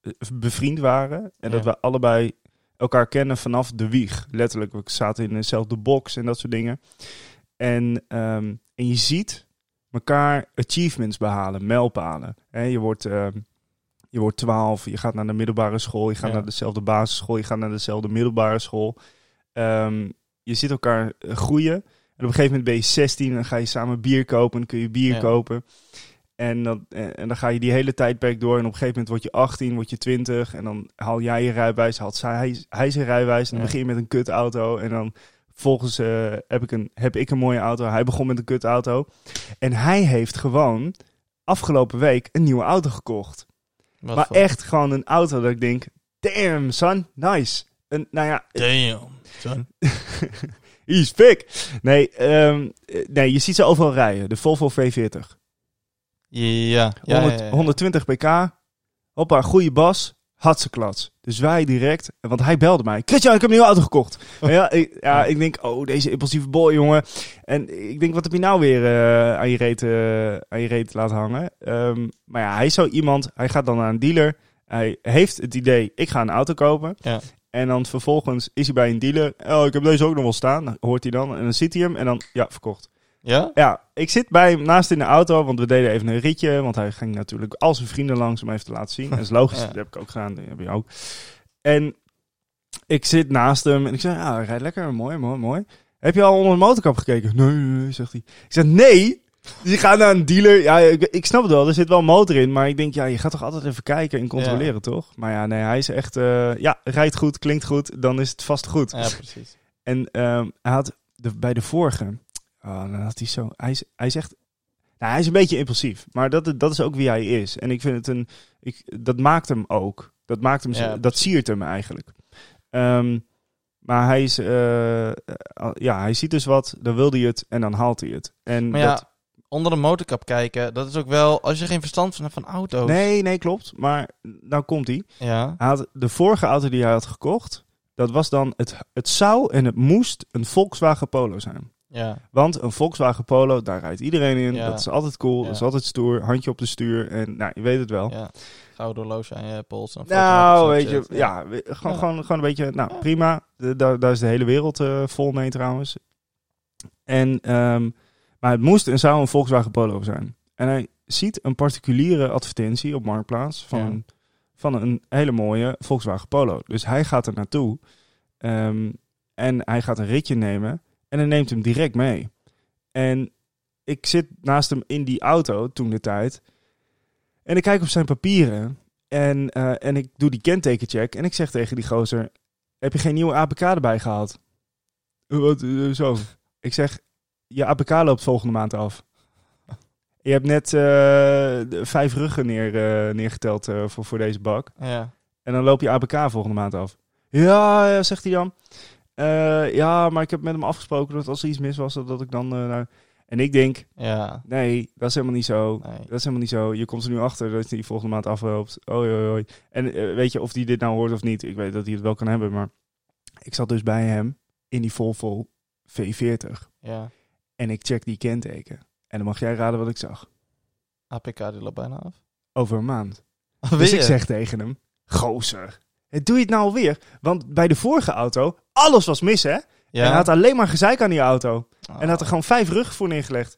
S1: eh, bevriend waren. En dat
S2: Ja.
S1: we allebei elkaar kennen vanaf de wieg. Letterlijk, we zaten in dezelfde box en dat soort dingen. En, ehm, en je ziet elkaar achievements behalen, mijlpalen. Hè, je wordt... ehm, je wordt 12, je gaat naar de middelbare school, je gaat
S2: Ja.
S1: naar dezelfde basisschool, je gaat naar dezelfde middelbare school. Ehm, je ziet elkaar eh, groeien. En op een gegeven moment ben je 16 en dan ga je samen bier kopen, dan kun je bier
S2: Ja.
S1: kopen. En dan, en en dan ga je die hele tijdperk door. En op een gegeven moment word je 18, word je 20. En dan haal jij je rijbewijs, haalt zij, hij, hij zijn rijbewijs. En dan
S2: Ja.
S1: begin je met een kutauto. En dan volgens eh, heb, ik een, heb ik een mooie auto. Hij begon met een kutauto. En hij heeft gewoon afgelopen week een nieuwe auto gekocht.
S2: Wat
S1: Maar
S2: voor-
S1: echt gewoon een auto dat ik denk, damn son, nice. Een, nou ja,
S2: Damn, son.
S1: is pik. Nee, ehm, eh, nee, je ziet ze overal rijden. De Volvo V40.
S2: Ja, ja, ja,
S1: 100
S2: ja, ja.
S1: 120 pk. Hoppa, goede bas. Hatseklats. Dus wij direct, want hij belde mij. Christian, ik heb een nieuwe auto gekocht. Maar ja, ik, ja, ik denk, oh, deze impulsieve boy, jongen. En ik denk, wat heb je nou weer eh, aan, je reet, eh, aan je reet laten hangen? Ehm, maar ja, hij is zo iemand, hij gaat dan naar een dealer. Hij heeft het idee, ik ga een auto kopen.
S2: Ja.
S1: En dan vervolgens is hij bij een dealer. Oh, ik heb deze ook nog wel staan. Dan Hoort hij dan. En dan ziet hij hem en dan, ja, verkocht.
S2: Ja?
S1: Ja, ik zit bij hem naast in de auto, want we deden even een ritje. Want hij ging natuurlijk al zijn vrienden langs om even te laten zien. Dat is logisch,
S2: (laughs) Ja.
S1: dat heb ik ook gedaan, dat heb je ook. En ik zit naast hem en ik zeg, ja, hij rijdt lekker, mooi, mooi, mooi. Heb je al onder de motorkap gekeken? Nee, nee, nee, zegt hij. Ik zeg, nee, je gaat naar een dealer. Ja, ik, ik snap het wel, er zit wel een motor in. Maar ik denk, ja, je gaat toch altijd even kijken en controleren, toch? Maar ja, nee, hij is echt, eh, ja, rijdt goed, klinkt goed, dan is het vast goed.
S2: Ja, precies.
S1: oh, En ehm, hij had de, bij de vorige, ah, dan had hij zo, hij is, hij is echt, Nou, hij is een beetje impulsief, maar dat, dat is ook wie hij is. En ik vind het een. Ik, dat maakt hem ook. Dat maakt hem. zo-
S2: Ja,
S1: dat siert hem eigenlijk. Ehm, maar hij is. eh, eh, al- ja, hij ziet dus wat, dan wil hij het en dan haalt hij het. En
S2: Maar ja,
S1: dat-
S2: onder een motorkap kijken, dat is ook wel... Als je geen verstand van hebt van auto's...
S1: nee, nee, klopt. Maar nou komt hij.
S2: Ja,
S1: Hij had de vorige auto die hij had gekocht, dat was dan het, het zou en het moest een Volkswagen Polo zijn.
S2: ja.
S1: Want een Volkswagen Polo, daar rijdt iedereen in.
S2: Ja.
S1: Dat is altijd cool,
S2: Ja.
S1: dat is altijd stoer. Handje op de stuur en nou, je weet het wel.
S2: ja. Gouden horloge aan je pols. en
S1: Nou,
S2: foto's en
S1: weet je,
S2: shit.
S1: ja, we- gewoon,
S2: Ja.
S1: Gewoon, gewoon een beetje, nou prima. De- Daar, daar is de hele wereld eh, vol mee trouwens. En, ehm, maar het moest en zou een Volkswagen Polo zijn. En hij ziet een particuliere advertentie op Marktplaats van,
S2: Ja.
S1: een, van een hele mooie Volkswagen Polo. Dus hij gaat er naartoe Ehm, en hij gaat een ritje nemen en hij neemt hem direct mee. En ik zit naast hem in die auto toen de tijd. En ik kijk op zijn papieren. En, eh, en ik doe die kentekencheck. En ik zeg tegen die gozer: Heb je geen nieuwe APK erbij gehaald? "Eh, Wat, eh, zo. Ik zeg: Je APK loopt volgende maand af. Je hebt net eh, de vijf ruggen neer, eh, neergeteld eh, voor, voor deze bak.
S2: Ja.
S1: En dan loop je APK volgende maand af. Ja, ja, zegt hij dan. "Eh, ja, maar ik heb met hem afgesproken dat als er iets mis was, dat, dat ik dan. eh, naar-" En ik denk:
S2: Ja.
S1: Nee, dat is helemaal niet zo.
S2: Nee.
S1: Dat is helemaal niet zo. Je komt er nu achter dat hij volgende maand afloopt. Oei, oei, oei. En eh, weet je of hij dit nou hoort of niet? Ik weet dat hij het wel kan hebben, maar... Ik zat dus bij hem in die Volvo V40.
S2: Ja.
S1: En ik check die kenteken. En dan mag jij raden wat ik zag.
S2: APK, die loopt bijna af. (laughs)
S1: Over een maand. Dus
S2: Weer?
S1: ik zeg tegen hem... Gozer, eh, doe je het nou alweer? Want bij de vorige auto, alles was mis, hè? En hij had alleen maar gezeik aan die auto.
S2: Oh.
S1: En hij had er (laughs)
S2: (laughs) Ah.
S1: gewoon vijf rug voor neergelegd.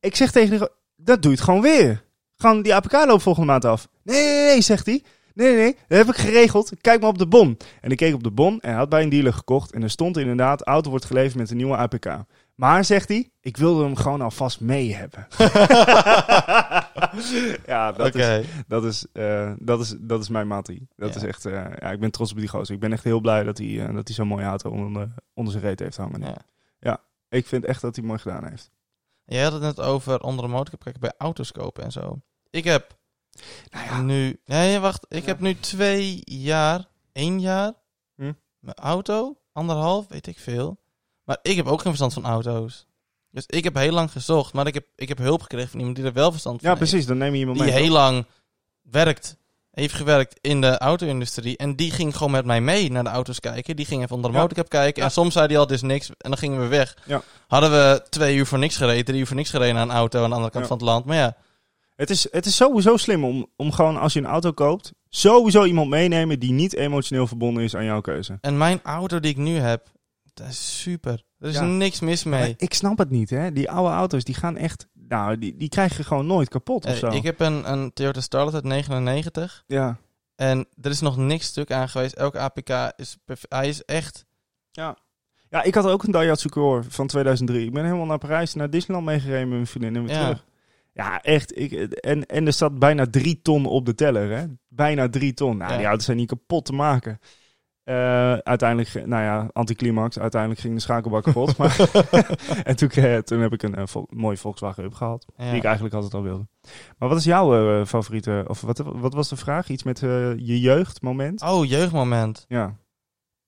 S1: Ik zeg tegen hem, dat doe je het gewoon weer. Gewoon die APK loopt volgende maand af. Nee, nee, nee, zegt hij. Nee, nee, nee, dat heb ik geregeld. Kijk maar op de bon. En ik keek op de bon en hij had bij een dealer gekocht. En er stond inderdaad, auto wordt geleverd met een nieuwe APK. Maar, zegt hij, ik wilde hem gewoon alvast mee hebben. (laughs) ja, dat
S2: Oké.
S1: is dat is, eh, dat is, dat is mijn mattie. Dat
S2: Ja.
S1: is echt, eh, ja, ik ben trots op die gozer. Ik ben echt heel blij dat hij, eh, dat hij zo'n mooie auto onder, onder zijn reet heeft hangen.
S2: Ja.
S1: Ja, ik vind echt dat hij mooi gedaan heeft.
S2: Jij had het net over onder een motorkap kijken bij auto's kopen en zo. Ik heb
S1: Nou ja.
S2: nu... Nee, wacht. Ik
S1: Ja.
S2: heb nu twee jaar, één jaar,
S1: Hm?
S2: mijn auto, anderhalf, weet ik veel. Maar ik heb ook geen verstand van auto's. Dus ik heb heel lang gezocht, maar ik heb, ik heb hulp gekregen van iemand die er wel verstand van
S1: Ja,
S2: heeft.
S1: precies. Dan neem je iemand
S2: Die
S1: mee.
S2: heel lang werkt, heeft gewerkt in de auto-industrie. En die ging gewoon met mij mee naar de auto's kijken. Die ging even onder de
S1: Ja.
S2: motorkap kijken.
S1: Ja.
S2: En soms zei hij al, dit is niks. En dan gingen we weg.
S1: Ja.
S2: Hadden we twee uur voor niks gereden, drie uur voor niks gereden aan een auto aan de andere kant
S1: Ja.
S2: van het land. Maar ja,
S1: Het is, het is sowieso slim om, om gewoon als je een auto koopt, sowieso iemand meenemen die niet emotioneel verbonden is aan jouw keuze.
S2: en mijn auto die ik nu heb, dat is super. Er is
S1: Ja.
S2: niks mis
S1: Maar
S2: mee.
S1: Ik snap het niet, hè. Die oude auto's, die gaan echt, nou, die, die krijg je gewoon nooit kapot of
S2: Eh,
S1: zo.
S2: ik heb een, een Toyota Starlet uit 99.
S1: Ja.
S2: En er is nog niks stuk aan geweest. Elke APK is perfect. Hij is echt.
S1: ja, ik had ook een Daihatsu Core van 2003. Ik ben helemaal naar Parijs, naar Disneyland meegereden met mijn vriendin en weer
S2: Ja.
S1: terug. Ja, echt. Ik, en, en er zat bijna drie ton op de teller, hè? Bijna drie ton. Nou,
S2: Ja.
S1: die auto's zijn niet kapot te maken. Eh, uiteindelijk, ge- nou ja, anticlimax. Uiteindelijk ging de schakelbak kapot. maar, (laughs) en toen, eh, toen heb ik een eh, vol- mooie Volkswagen Up gehaald.
S2: Ja.
S1: Die ik eigenlijk altijd al wilde. Maar wat is jouw eh, favoriete... Of wat, wat was de vraag? Iets met eh, je jeugdmoment?
S2: Oh, jeugdmoment.
S1: Ja.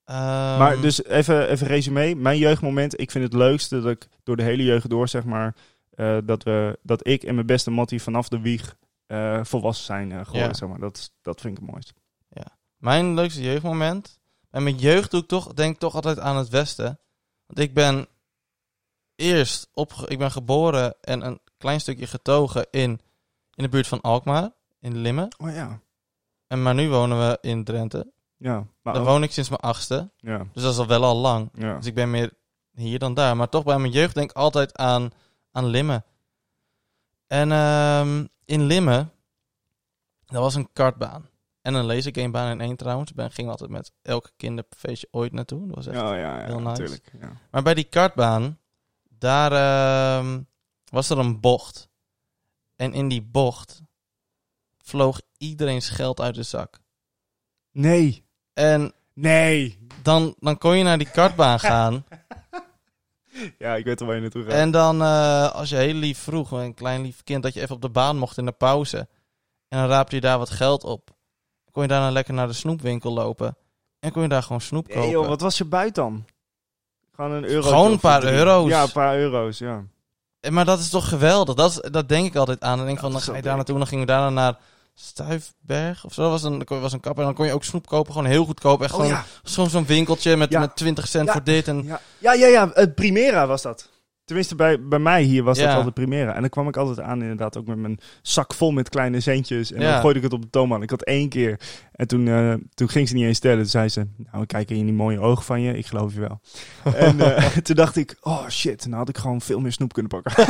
S2: Ehm,
S1: Maar dus even, even resume. Mijn jeugdmoment. Ik vind het leukste dat ik door de hele jeugd door, zeg maar, eh, dat, we, dat ik en mijn beste Mattie vanaf de wieg eh, volwassen zijn eh, geworden,
S2: Ja.
S1: zeg maar. Dat, is- dat vind ik het mooist.
S2: Mijn leukste jeugdmoment. En met jeugd doe ik toch, denk ik toch altijd aan het Westen. Want ik ben eerst opge ik ben geboren en een klein stukje getogen in, in de buurt van Alkmaar, in Limmen.
S1: Oh ja.
S2: En maar nu wonen we in Drenthe.
S1: Ja. Maar
S2: Daar
S1: ook-
S2: woon ik sinds mijn achtste.
S1: ja,
S2: Dus dat is al wel al lang.
S1: ja.
S2: Dus ik ben meer hier dan daar. Maar toch bij mijn jeugd denk ik altijd aan, aan Limmen. En ehm, in Limmen, dat was een kartbaan. En een lasergamebaan in één trouwens. Daar gingen we altijd met elke kinderfeestje ooit naartoe. Dat was
S1: Ja,
S2: echt...
S1: ja, ja,
S2: heel nice.
S1: natuurlijk. Ja.
S2: Maar bij die kartbaan, daar ehm, was er een bocht. En in die bocht vloog iedereen's geld uit de zak.
S1: Nee.
S2: En
S1: Nee.
S2: dan, dan kon je naar die kartbaan gaan.
S1: Ja, ik weet al waar je naartoe gaat.
S2: En dan, eh, als je heel lief vroeg, een klein lief kind, dat je even op de baan mocht in de pauze. En dan raapte je daar wat geld op. Kon je daarna lekker naar de snoepwinkel lopen. En kon je daar gewoon snoep kopen.
S1: Nee, joh, wat was je buit dan? Gewoon een euro.
S2: Gewoon een paar
S1: of drie.
S2: euro's.
S1: Ja, een paar euro's, ja.
S2: Eh, Maar dat is toch geweldig? Dat, is, dat denk ik altijd aan. Dan denk ik
S1: dat
S2: van, dan
S1: is
S2: ga
S1: wel
S2: je daar naartoe. Dan gingen we daarna naar Stuifberg of zo. Dat was een, dat was een kapper. En dan kon je ook snoep kopen. Gewoon heel goedkoop. Echt
S1: Oh
S2: gewoon
S1: ja.
S2: zo'n zo'n winkeltje met,
S1: Ja.
S2: met 20 cent
S1: Ja.
S2: voor dit. En
S1: Ja, ja, ja, ja. eh, Primera was dat. Tenminste, bij, bij mij hier was dat
S2: Ja.
S1: altijd Primera. En dan kwam ik altijd aan inderdaad ook met mijn zak vol met kleine centjes. En dan
S2: Ja.
S1: gooide ik het op de toonbank. Ik had één keer. En toen, eh, toen ging ze niet eens tellen. Toen zei ze, nou, we kijken in die mooie ogen van je. Ik geloof je (laughs) wel. en eh, (laughs) toen dacht ik, oh shit, nou had ik gewoon veel meer snoep kunnen
S2: (laughs)
S1: pakken.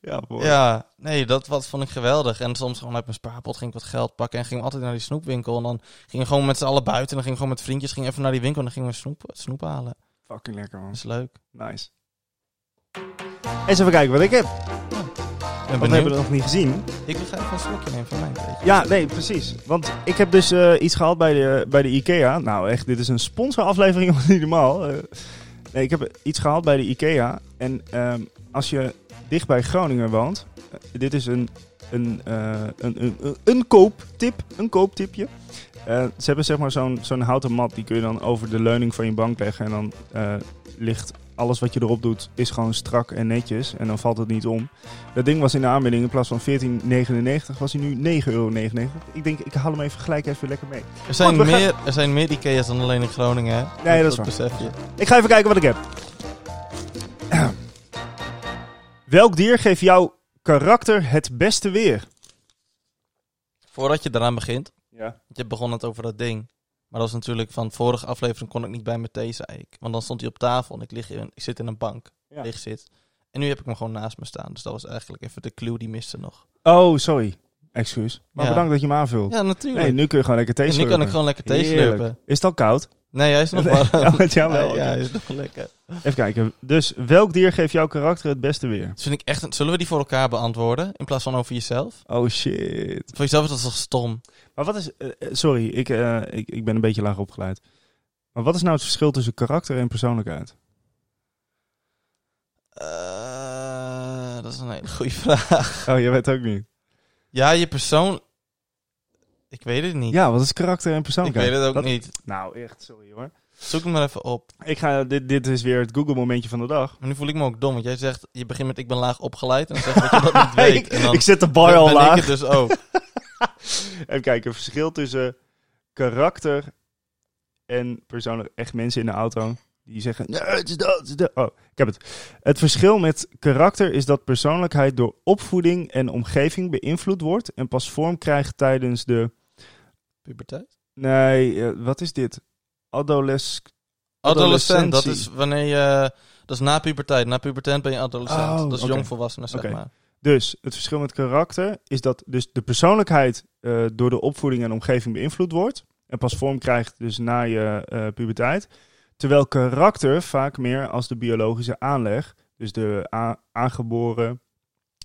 S1: ja, mooi.
S2: Ja, nee, dat wat vond ik geweldig. En soms gewoon uit mijn spaarpot ging ik wat geld pakken en ging altijd naar die snoepwinkel. En dan gingen we gewoon met z'n allen buiten en dan gingen we gewoon met vriendjes gingen even naar die winkel en dan gingen we snoep, snoep halen.
S1: Fucking lekker, man.
S2: Dat is leuk.
S1: Nice. Eens even kijken wat ik heb.
S2: Ik
S1: Want
S2: ben
S1: we hebben het
S2: benieuwd.
S1: nog niet gezien.
S2: Ik wil graag even een slokje nemen van mijn beetje.
S1: Ja, nee, precies. Want ik heb dus eh, iets gehaald bij de, bij de IKEA. Nou, echt, dit is een sponsoraflevering, (laughs) want niet normaal. Eh, nee, ik heb iets gehaald bij de IKEA. En ehm, als je dicht bij Groningen woont, eh, dit is een, een, eh, een, een, een, een kooptip, een kooptipje. Eh, ze hebben zeg maar zo'n zo'n houten mat, die kun je dan over de leuning van je bank leggen. En dan eh, ligt alles wat je erop doet, is gewoon strak en netjes. En dan valt het niet om. Dat ding was in de aanbieding in plaats van 14,99 was hij nu 9,99 euro. Ik denk, ik haal hem even gelijk even lekker mee.
S2: Er zijn,
S1: Goed, we gaan-
S2: meer, er zijn meer Ikea's dan alleen in Groningen, hè?
S1: Nee, dat is
S2: besef je.
S1: Ik ga even kijken wat ik heb. (clears throat) Welk dier geeft jouw karakter het beste weer?
S2: Voordat je daaraan begint,
S1: Ja.
S2: je begon het over dat ding. Maar dat was natuurlijk van vorige aflevering kon ik niet bij mijn thee, zei ik. Want dan stond hij op tafel en ik, lig in, ik zit in een bank.
S1: Ja.
S2: Licht zit. En nu heb ik hem gewoon naast me staan. Dus dat was eigenlijk even de clue die miste nog.
S1: Oh, sorry. Excuus. Maar
S2: Ja.
S1: bedankt dat je me aanvult.
S2: Ja, natuurlijk.
S1: Nee, nu kun je gewoon lekker thee
S2: en nu
S1: slurpen.
S2: kan ik gewoon lekker thee
S1: Heerlijk.
S2: slurpen.
S1: Is het al koud?
S2: Nee, hij is nog
S1: Nee.
S2: warm.
S1: (laughs) Ja, met jou wel.
S2: Nee, (laughs) ja, hij is nog lekker.
S1: Even kijken. Dus welk dier geeft jouw karakter het beste weer?
S2: Dat vind ik echt een- Zullen we die voor elkaar beantwoorden? In plaats van over jezelf?
S1: Oh shit.
S2: Voor jezelf is dat toch stom?
S1: Maar wat is. eh, eh, sorry, ik, eh, ik, ik ben een beetje laag opgeleid. Maar wat is nou het verschil tussen karakter en persoonlijkheid?
S2: Eh, dat is een hele (laughs) goede vraag.
S1: Oh, je weet ook niet.
S2: Ja, je persoon... Ik weet het niet.
S1: Ja, wat is karakter en
S2: ik
S1: persoonlijkheid?
S2: weet het ook
S1: Dat-
S2: niet.
S1: Nou, echt, sorry hoor.
S2: Zoek hem maar even op.
S1: Ik ga, dit, dit is weer het Google-momentje van de dag.
S2: Maar nu voel ik me ook dom. Want jij zegt, je begint met ik ben laag opgeleid. En dan zeg je dat
S1: (laughs)
S2: je dat niet weet.
S1: ik,
S2: En dan
S1: ik zet de bar
S2: ben
S1: al
S2: ik
S1: laag.
S2: het dus
S1: (laughs)
S2: ook.
S1: Even kijken, verschil tussen karakter en persoonlijk. Echt mensen in de auto die zeggen: Nee, het is dat. Het is dat." Oh, ik heb het. Het verschil met karakter is dat persoonlijkheid door opvoeding en omgeving beïnvloed wordt en pas vorm krijgt tijdens de.
S2: Puberteit?
S1: Nee, eh, wat is dit? Adolesc.
S2: Adolescent, dat is
S1: Adolescentie.
S2: wanneer je... Dat is na puberteit. Na puberteit ben je adolescent.
S1: Oh,
S2: dat is
S1: oké.
S2: jongvolwassenen, zeg
S1: Oké.
S2: maar.
S1: Dus het verschil met karakter is dat dus de persoonlijkheid eh, door de opvoeding en omgeving beïnvloed wordt. En pas vorm krijgt dus na je eh, puberteit. Terwijl karakter vaak meer als de biologische aanleg, dus de a- aangeboren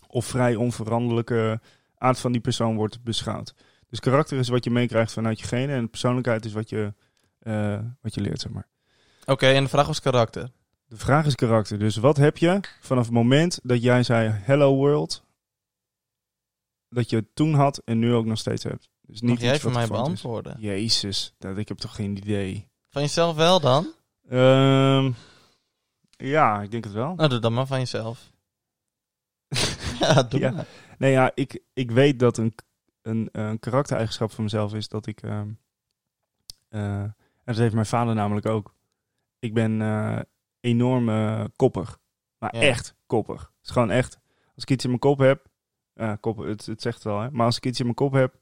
S1: of vrij onveranderlijke aard van die persoon wordt beschouwd. Dus karakter is wat je meekrijgt vanuit je genen en persoonlijkheid is wat je, eh, wat je leert, zeg maar.
S2: Oké, en de vraag was karakter.
S1: De vraag is karakter. Dus wat heb je vanaf het moment dat jij zei hello world, dat je het toen had en nu ook nog steeds hebt? Dus niet
S2: Mag jij
S1: iets
S2: voor
S1: wat
S2: mij
S1: gevormd is.
S2: beantwoorden?
S1: Jezus, dat, ik heb toch geen idee.
S2: Van jezelf wel dan?
S1: Ehm, ja, ik denk het wel.
S2: Nou, doe dan maar van jezelf. (laughs) ja, doe
S1: Ja.
S2: maar.
S1: Nee, ja, ik, ik weet dat een, een, een karaktereigenschap van mezelf is dat ik. ehm, eh, en dat heeft mijn vader namelijk ook. Ik ben eh, enorm eh, koppig. Maar
S2: Ja.
S1: echt koppig. Het is gewoon echt. Als ik iets in mijn kop heb. eh, kop, het, het zegt het wel, hè? Maar als ik iets in mijn kop heb.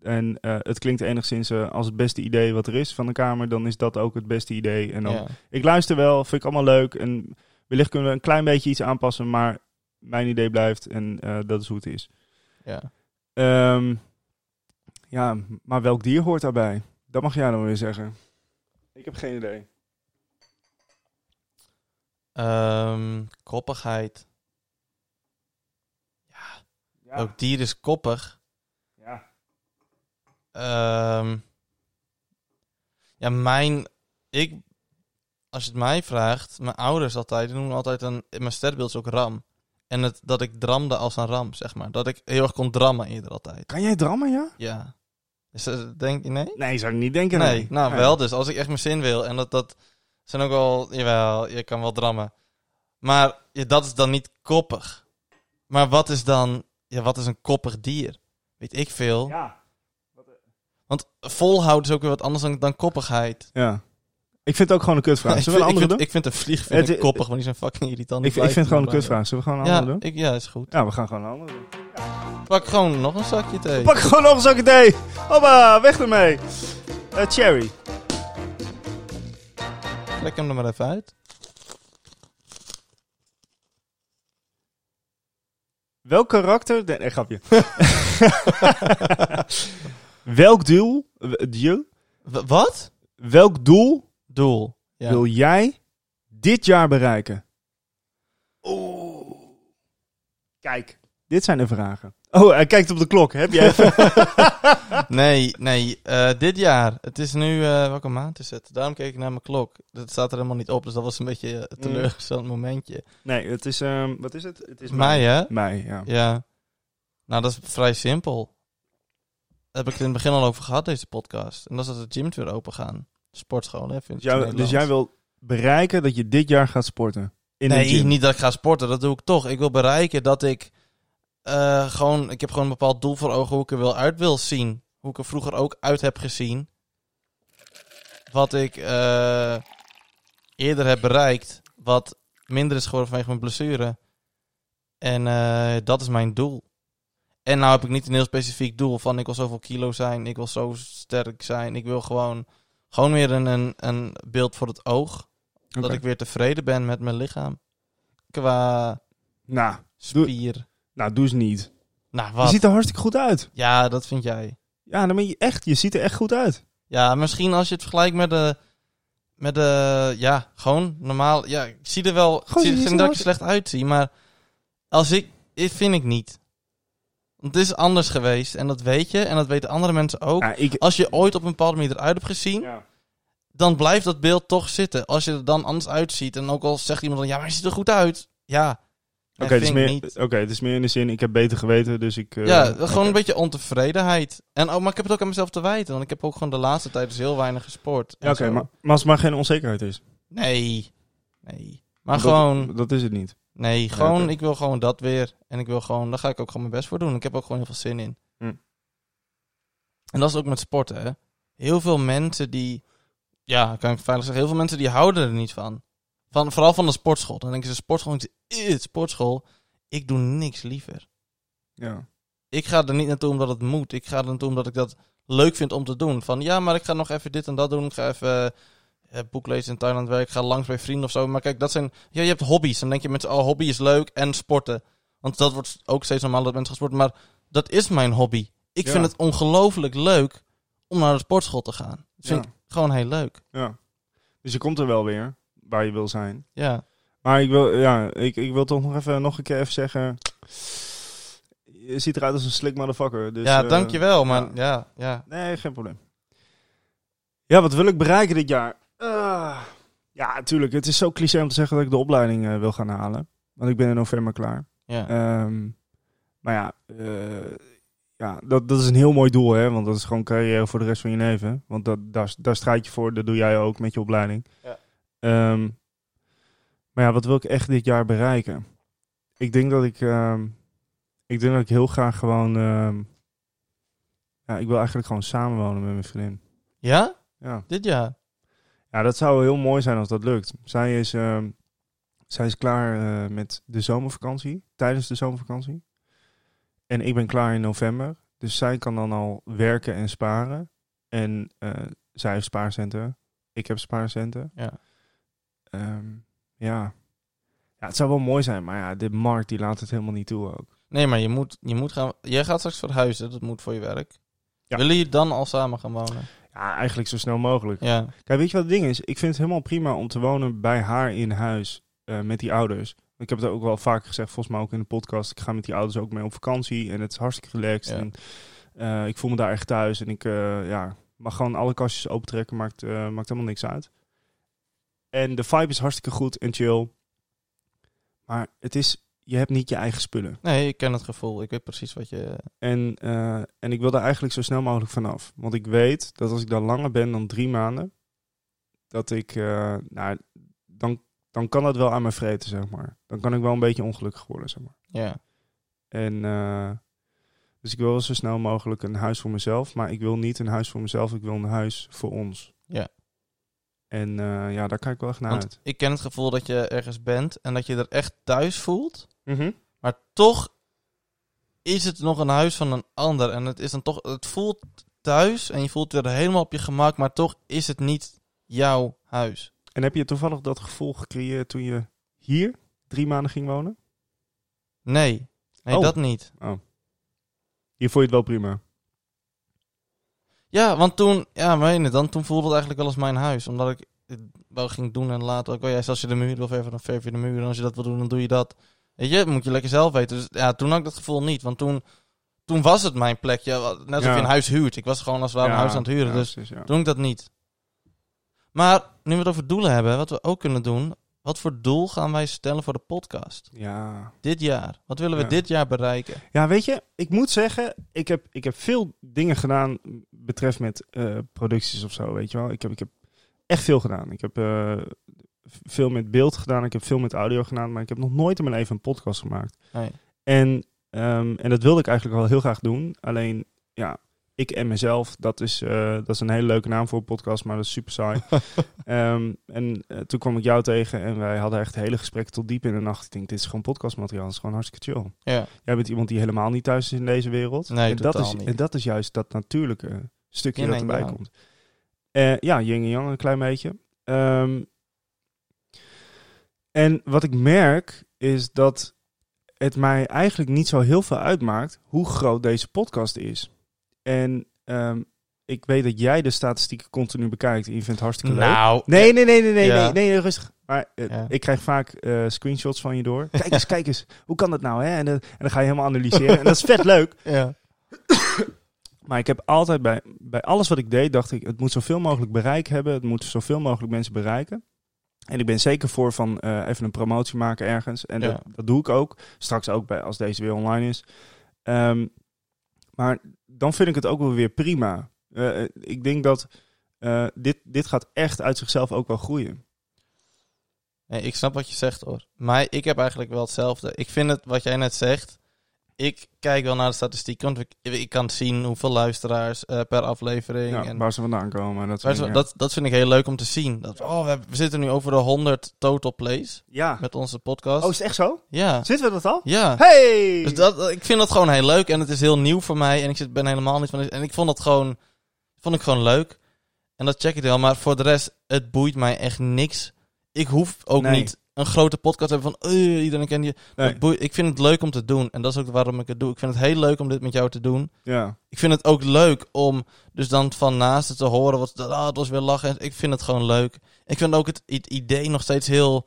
S1: En eh, het klinkt enigszins eh, als het beste idee wat er is van de Kamer. Dan is dat ook het beste idee. En dan
S2: Ja.
S1: ik luister wel, vind ik allemaal leuk. En wellicht kunnen we een klein beetje iets aanpassen, maar mijn idee blijft en eh, dat is hoe het is.
S2: Ja.
S1: Ehm, ja, maar welk dier hoort daarbij? Dat mag jij dan weer zeggen. Ik heb geen idee.
S2: Ehm, koppigheid.
S1: Ja,
S2: Ook dier is koppig.
S1: ja.
S2: Ehm, ja, mijn... Ik, als je het mij vraagt, mijn ouders altijd, die noemen altijd een, mijn sterrenbeeld is ook ram. En het, dat ik dramde als een ram, zeg maar. Dat ik heel erg kon drammen eerder altijd.
S1: Kan jij drammen, ja?
S2: Ja. Dus eh, denk je, nee?
S1: Nee, zou ik niet denken.
S2: Nee, nou wel. Dus als ik echt mijn zin wil. En dat, dat zijn ook wel... Jawel, je kan wel drammen. Maar ja, dat is dan niet koppig. Maar wat is dan... Ja, wat is een koppig dier? Weet ik veel.
S1: Ja.
S2: Want volhouden is ook weer wat anders dan, dan koppigheid.
S1: ja. Ik vind het ook gewoon een kutvraag.
S2: (laughs) ik,
S1: Zullen
S2: vind,
S1: we een
S2: ik,
S1: andere
S2: vind,
S1: doen?
S2: ik vind een vlieg vind
S1: Het-
S2: ik koppig, want die zijn fucking irritant.
S1: Ik, vind- ik vind het gewoon een kutvraag. Zullen we gewoon een andere
S2: Ja,
S1: doen?
S2: ik, ja, is goed.
S1: Ja, we gaan gewoon een andere doen.
S2: Pak gewoon nog een zakje thee.
S1: Pak gewoon nog een zakje thee. Hoppa, weg ermee. Eh, cherry.
S2: Trek hem er maar even uit.
S1: Welk karakter... Nee, nee, grapje. (laughs) Welk doel... eh, doel-
S2: W- wat?
S1: Welk doel
S2: Doel. Ja.
S1: wil jij dit jaar bereiken? Oeh. Kijk, dit zijn de vragen. Oh, hij kijkt op de klok. Heb jij even...
S2: Nee, nee. eh, dit jaar. Het is nu... eh, welke maand is het? Daarom keek ik naar mijn klok. Dat staat er helemaal niet op. Dus dat was een beetje eh,
S1: Mm.
S2: een teleurgesteld momentje.
S1: (laughs) Nee, het is... ehm, wat is het? Het is
S2: Mei, hè?
S1: Mei, ja.
S2: Ja. Nou, dat is vrij simpel. Daar heb ik het in het begin al over gehad, deze podcast. En dat is dat de gyms weer open gaan. Sportscholen, even in
S1: Dus
S2: het
S1: jij, dus
S2: Nederlands.
S1: jij wil bereiken dat je dit jaar gaat sporten? In de
S2: nee,
S1: gym.
S2: niet dat ik ga sporten. Dat doe ik toch. Ik wil bereiken dat ik eh, gewoon... Ik heb gewoon een bepaald doel voor ogen hoe ik er wel uit wil zien. Hoe ik er vroeger ook uit heb gezien. Wat ik eh, eerder heb bereikt. Wat minder is geworden vanwege mijn blessure. En eh, dat is mijn doel. En nou heb ik niet een heel specifiek doel van ik wil zoveel kilo zijn, ik wil zo sterk zijn. Ik wil gewoon, gewoon weer een, een, een beeld voor het oog.
S1: Oké.
S2: Dat ik weer tevreden ben met mijn lichaam. Qua
S1: Nou, doe,
S2: spier.
S1: nou, doe eens niet.
S2: Nou,
S1: Je
S2: wat?
S1: ziet er hartstikke goed uit.
S2: Ja, dat vind jij.
S1: Ja, dan ben je echt, je ziet er echt goed uit.
S2: Ja, misschien als je het vergelijkt met de... Met de... Ja, gewoon normaal. Ja, ik zie er wel...
S1: Goh,
S2: ik zie
S1: je
S2: ik
S1: ziet
S2: zie
S1: er
S2: dat ik
S1: wel-
S2: er slecht uitzie, maar... Als ik... Dit vind ik niet. Want het is anders geweest. En dat weet je. En dat weten andere mensen ook.
S1: Ja, ik,
S2: Als je ooit op een bepaalde manier eruit hebt gezien... dan blijft dat beeld toch zitten. Als je er dan anders uitziet. En ook al zegt iemand dan... Ja, maar je ziet er goed uit. Ja.
S1: Oké,
S2: dat
S1: het, is
S2: vind ik
S1: meer-
S2: niet.
S1: oké, het is meer in de zin, ik heb beter geweten, dus ik... eh,
S2: Ja, gewoon
S1: oké.
S2: een beetje ontevredenheid. En, oh, maar ik heb het ook aan mezelf te wijten. Want ik heb ook gewoon de laatste tijd dus heel weinig gesport. en
S1: Ja, Oké,
S2: zo.
S1: maar, maar als het maar geen onzekerheid is.
S2: Nee. Nee.
S1: Want
S2: Maar gewoon...
S1: Dat, dat is het niet.
S2: Nee, gewoon...
S1: oké.
S2: Ik wil gewoon dat weer. En ik wil gewoon... Daar ga ik ook gewoon mijn best voor doen. Ik heb ook gewoon heel veel zin in.
S1: Hm.
S2: En dat is ook met sporten, hè. Heel veel mensen die... Ja, kan ik veilig zeggen. Heel veel mensen die houden er niet van. van vooral van de sportschool. Dan denken ze sportschool. en ik zeg, "Eh, sportschool. Ik doe niks liever.
S1: Ja.
S2: ik ga er niet naartoe omdat het moet. Ik ga er naartoe omdat ik dat leuk vind om te doen. Van ja, maar ik ga nog even dit en dat doen. Ik ga even eh, boek lezen in Thailand werken. Ik ga langs bij vrienden of zo. Maar kijk, dat zijn. Ja, je hebt hobby's. Dan denk je mensen, oh, hobby is leuk en sporten. Want dat wordt ook steeds normaal dat mensen gaan sporten. Maar dat is mijn hobby. Ik
S1: Ja.
S2: vind het ongelooflijk leuk om naar de sportschool te gaan. Dat vind
S1: Ja.
S2: ik gewoon heel leuk.
S1: ja. Dus je komt er wel weer, waar je wil zijn.
S2: Ja.
S1: Maar ik wil, ja, ik, ik wil toch nog even, nog een keer even zeggen... Je ziet eruit als een slick motherfucker. Dus,
S2: ja,
S1: eh,
S2: dankjewel. Maar
S1: ja.
S2: ja, ja. ja.
S1: Nee, geen probleem. Ja, wat wil ik bereiken dit jaar? Ah, ja, natuurlijk. Het is zo cliché om te zeggen dat ik de opleiding eh, wil gaan halen. Want ik ben in november klaar. Ehm, maar ja, eh, ja dat, dat is een heel mooi doel, hè? Want dat is gewoon carrière voor de rest van je leven. Want dat, daar, daar strijd je voor, dat doe jij ook met je opleiding.
S2: Ja.
S1: Ehm, maar ja, wat wil ik echt dit jaar bereiken? Ik denk dat ik, ehm, ik, denk dat ik heel graag gewoon. ehm, ja, ik wil eigenlijk gewoon samenwonen met mijn vriendin.
S2: Ja?
S1: Ja.
S2: Dit jaar?
S1: Ja, dat zou heel mooi zijn als dat lukt. Zij is, ehm, zij is klaar eh, met de zomervakantie, tijdens de zomervakantie. En ik ben klaar in november. Dus zij kan dan al werken en sparen. En eh, zij heeft spaarcenten. Ik heb spaarcenten.
S2: Ja.
S1: Ehm, ja. ja, het zou wel mooi zijn. Maar ja, de markt die laat het helemaal niet toe ook.
S2: Nee, maar je moet, je moet gaan. Jij gaat straks verhuizen, dat moet voor je werk.
S1: Ja.
S2: Willen jullie dan al samen gaan wonen?
S1: Ja, eigenlijk zo snel mogelijk.
S2: Ja.
S1: Kijk, weet je wat het ding is? Ik vind het helemaal prima om te wonen bij haar in huis eh, met die ouders. Ik heb het ook wel vaak gezegd, volgens mij ook in de podcast. Ik ga met die ouders ook mee op vakantie en het is hartstikke relaxed.
S2: Ja.
S1: En, eh, ik voel me daar echt thuis en ik eh, ja, mag gewoon alle kastjes opentrekken, maakt, eh, maakt helemaal niks uit. En de vibe is hartstikke goed en chill. Maar het is, je hebt niet je eigen spullen.
S2: Nee, ik ken het gevoel. Ik weet precies wat je...
S1: En, eh, en ik wil daar eigenlijk zo snel mogelijk vanaf. Want ik weet dat als ik daar langer ben dan drie maanden, dat ik, eh, nou, dan, dan kan dat wel aan me vreten, zeg maar. Dan kan ik wel een beetje ongelukkig worden, zeg maar.
S2: Ja.
S1: En eh, dus ik wil zo snel mogelijk een huis voor mezelf. Maar ik wil niet een huis voor mezelf. Ik wil een huis voor ons.
S2: Ja.
S1: En eh, ja, daar kijk ik wel echt naar
S2: Want
S1: uit.
S2: ik ken het gevoel dat je ergens bent en dat je er echt thuis voelt.
S1: Mhm.
S2: Maar toch is het nog een huis van een ander. En het, is dan toch, het voelt thuis en je voelt weer helemaal op je gemak. Maar toch is het niet jouw huis.
S1: En heb je toevallig dat gevoel gecreëerd toen je hier drie maanden ging wonen?
S2: Nee, nee
S1: Oh.
S2: dat niet.
S1: Hier vond je het wel prima.
S2: Ja, want toen, ja, meen het dan, toen voelde het eigenlijk wel als mijn huis. Omdat ik het wel ging doen en later ook, oh ja, als je de muur wil verven, dan verf je de muur. En als je dat wil doen, dan doe je dat. Weet je, moet je lekker zelf weten. Dus ja, toen had ik dat gevoel niet. Want toen, toen was het mijn plekje. Net alsof
S1: Ja.
S2: je een huis huurt. Ik was gewoon als het ware
S1: Ja,
S2: een huis aan het huren.
S1: ja,
S2: dus
S1: precies, ja.
S2: toen ik dat niet. Maar nu we het over doelen hebben, wat we ook kunnen doen. Wat voor doel gaan wij stellen voor de podcast?
S1: ja.
S2: Dit jaar. Wat willen we
S1: Ja.
S2: dit jaar bereiken?
S1: Ja, weet je, ik moet zeggen, ik heb, ik heb veel dingen gedaan betreft met eh, producties of zo, weet je wel. Ik heb, ik heb echt veel gedaan. Ik heb eh, veel met beeld gedaan, ik heb veel met audio gedaan, maar ik heb nog nooit in mijn leven een podcast gemaakt.
S2: Nee.
S1: En, ehm, en dat wilde ik eigenlijk wel heel graag doen, alleen ja, ik en mezelf, dat is, eh, dat is een hele leuke naam voor een podcast, maar dat is super saai. Ehm, en eh, toen kwam ik jou tegen en wij hadden echt hele gesprekken tot diep in de nacht. Ik denk, dit is gewoon podcastmateriaal, dat is gewoon hartstikke chill.
S2: Ja,
S1: Jij bent iemand die helemaal niet thuis is in deze wereld.
S2: Nee,
S1: en dat
S2: totaal
S1: is,
S2: niet.
S1: En dat is juist dat natuurlijke stukje
S2: Yin
S1: dat
S2: en
S1: erbij
S2: yang.
S1: komt. Eh, ja, yin en yang een klein beetje. Ehm, en wat ik merk is dat het mij eigenlijk niet zo heel veel uitmaakt hoe groot deze podcast is. En ehm, ik weet dat jij de statistieken continu bekijkt en je vindt het hartstikke leuk.
S2: nou.
S1: Nee, nee, nee, nee, nee,
S2: Ja.
S1: nee, nee, nee, rustig. Maar eh,
S2: Ja.
S1: ik krijg vaak eh, screenshots van je door. Kijk eens, (laughs) kijk eens. Hoe kan dat nou, hè? En, dan- en dan ga je helemaal analyseren. En dat is vet leuk.
S2: Ja.
S1: Maar ik heb altijd bij, bij alles wat ik deed, dacht ik... het moet zoveel mogelijk bereik hebben. Het moet zoveel mogelijk mensen bereiken. En ik ben zeker voor van eh, even een promotie maken ergens. En
S2: Ja.
S1: dat, dat doe ik ook. Straks ook bij, als deze weer online is. Ehm, maar dan vind ik het ook wel weer prima. Eh, eh, ik denk dat eh, dit, dit gaat echt uit zichzelf ook wel groeien.
S2: Nee, ik snap wat je zegt hoor. Maar ik heb eigenlijk wel hetzelfde. Ik vind het wat jij net zegt. Ik kijk wel naar de statistiek. Want ik, ik kan zien hoeveel luisteraars eh, per aflevering.
S1: Ja,
S2: en
S1: waar ze vandaan komen. Dat
S2: waar
S1: soort
S2: ze-
S1: dingen.
S2: dat, dat vind ik heel leuk om te zien. Dat, oh, we, hebben- we zitten nu over de 100 total plays
S1: ja.
S2: met onze podcast.
S1: Oh, is het echt zo?
S2: ja,
S1: Zitten we dat al?
S2: ja.
S1: Hey!
S2: Dus dat, ik vind dat gewoon heel leuk en het is heel nieuw voor mij. En ik zit, ben helemaal niet van. En ik vond dat gewoon, vond ik gewoon leuk. En dat check ik wel. Maar voor de rest, het boeit mij echt niks. Ik hoef ook
S1: Nee.
S2: niet een grote podcast te hebben van eh, iedereen kent je.
S1: Nee.
S2: Dat boeit- ik vind het leuk om te doen. En dat is ook waarom ik het doe. Ik vind het heel leuk om dit met jou te doen.
S1: Ja.
S2: Ik vind het ook leuk om dus dan van naasten te horen. Wat, ah, het was weer lachen. Ik vind het gewoon leuk. Ik vind ook het i- idee nog steeds heel...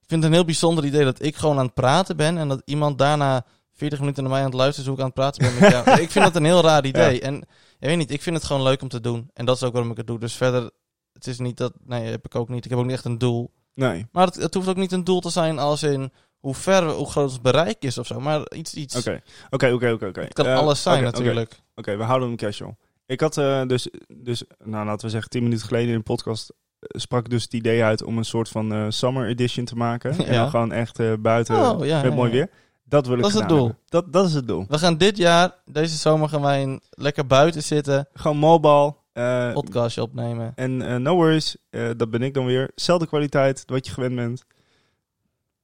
S2: Ik vind het een heel bijzonder idee dat ik gewoon aan het praten ben... en dat iemand daarna 40 minuten naar mij aan het luisteren is hoe ik aan het praten ben met jou.
S1: (laughs)
S2: ik vind dat een heel raar idee. En ik weet niet, ik vind het gewoon leuk om te doen. En dat is ook waarom ik het doe. Dus verder, het is niet dat... Nee, heb ik ook niet. Ik heb ook niet echt een doel.
S1: Nee.
S2: Maar het, het hoeft ook niet een doel te zijn als in... hoe ver, we- hoe groot ons bereik is of zo. Maar iets, iets...
S1: Oké. Oké, oké, oké. oké.
S2: Dus- Het kan
S1: Eh,
S2: alles zijn
S1: oké, oké.
S2: natuurlijk.
S1: Oké, we houden hem casual. Ik had eh, dus, dus, nou laten we zeggen, tien minuten geleden in een podcast eh, sprak ik dus het idee uit om een soort van eh, summer edition te
S2: (laughs)
S1: maken. En
S2: Ja.
S1: dan gewoon echt eh, buiten
S2: Oh, ja,
S1: met
S2: ja,
S1: mooi
S2: ja.
S1: weer. Dat wil ik
S2: Dat is het
S1: gedaan
S2: doel.
S1: hebben. Dat, dat is het doel.
S2: We gaan dit jaar, deze zomer gaan wij een, lekker buiten zitten,
S1: Gewoon mobile. eh,
S2: podcastje opnemen.
S1: en eh, no worries, eh, dat ben ik dan weer. Zelfde kwaliteit, wat je gewend bent.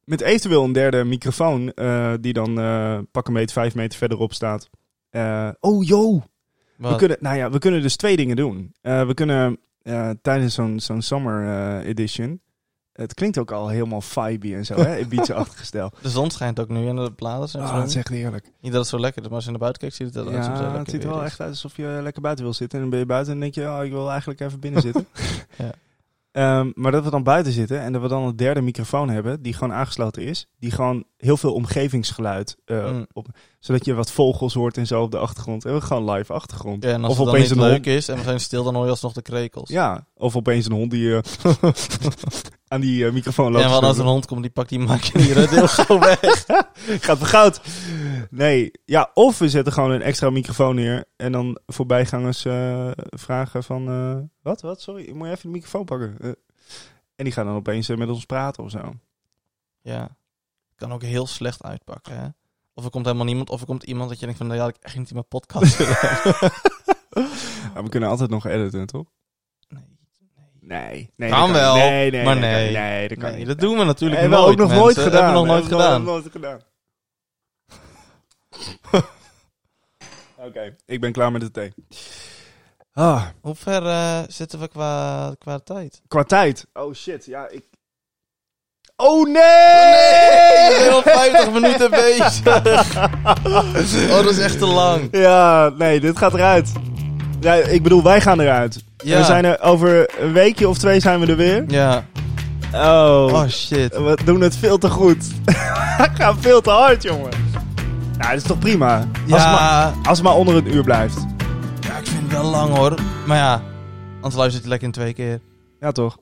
S1: Met eventueel een derde microfoon, eh, die dan eh pak een meter, vijf meter verderop staat. Eh, oh, joh! We
S2: Wat?
S1: kunnen, nou ja, we kunnen dus twee dingen doen. Eh, we kunnen eh, tijdens zo'n zo'n summer eh, edition... Het klinkt ook al helemaal vibe en zo, hè? Ibiza-achtig stijl.
S2: De zon schijnt ook nu en de bladen zijn
S1: Ah,
S2: groen.
S1: dat is echt heerlijk.
S2: Niet dat het zo lekker is, maar als je naar buiten kijkt ziet het eruit. alsof
S1: Ja,
S2: het heel
S1: het
S2: lekker
S1: ziet er
S2: weer
S1: wel
S2: is.
S1: eh, (laughs) echt uit alsof je lekker buiten wil zitten. En dan ben je buiten en denk je, oh, ik wil eigenlijk even binnen zitten.
S2: (laughs) Ja.
S1: Ehm, maar dat we dan buiten zitten en dat we dan een derde microfoon hebben die gewoon aangesloten is. Die gewoon heel veel omgevingsgeluid eh,
S2: Mm.
S1: op, zodat je wat vogels hoort en zo op de achtergrond. En we gewoon live achtergrond.
S2: Ja, en als
S1: Of
S2: het dan
S1: opeens
S2: niet
S1: een
S2: leuk is en we zijn stil, dan hoor je alsnog de krekels.
S1: Ja, of opeens een hond die eh, (laughs) aan die eh, microfoon loopt.
S2: en wat als er een hond komt, die pakt die maakje die redt heel zo weg.
S1: (laughs) Gaat vergoud. Nee, ja, of we zetten gewoon een extra microfoon neer en dan voorbijgangers eh, vragen van... eh, wat, wat, sorry, moet je even de microfoon pakken? Eh, en die gaan dan opeens eh, met ons praten of zo. (laughs)
S2: Ja. Kan ook heel slecht uitpakken, hè. Of er komt helemaal niemand, of er komt iemand dat je denkt van, nou ja, ik echt niet in mijn
S1: (laughs)
S2: podcast willen.
S1: Maar we kunnen altijd nog editen, toch?
S2: Nee,
S1: Nee. nee
S2: Kan
S1: dat
S2: wel,
S1: Nee, nee,
S2: maar
S1: nee.
S2: nee.
S1: nee, dat kan
S2: nee,
S1: niet.
S2: dat doen we natuurlijk
S1: Hebben we
S2: nooit,
S1: ook nog
S2: mensen.
S1: nooit gedaan.
S2: Hebben we nog nooit
S1: Hebben we
S2: gedaan.
S1: nog nooit gedaan. (laughs) Oké, ik ben klaar met de thee. Ah,
S2: Hoe ver eh, zitten we qua, qua tijd?
S1: qua tijd. Oh shit, ja, ik... Oh nee!
S2: Nee, ik ben al 50 minuten bezig. Oh, dat is echt te lang.
S1: (laughs) Ja, nee, dit gaat eruit. Ja, ik bedoel, wij gaan eruit.
S2: Ja.
S1: We zijn er over een weekje of twee zijn we er weer.
S2: Ja.
S1: Oh,
S2: Oh, shit.
S1: we doen het veel te goed. (laughs) gaan veel te hard, jongen. Nou, dat is toch prima? Als, het maar,
S2: Ja,
S1: als het maar onder een uur blijft.
S2: ja, ik vind het wel lang, hoor. Maar ja, anders luistert je lekker in twee keer.
S1: Ja, toch?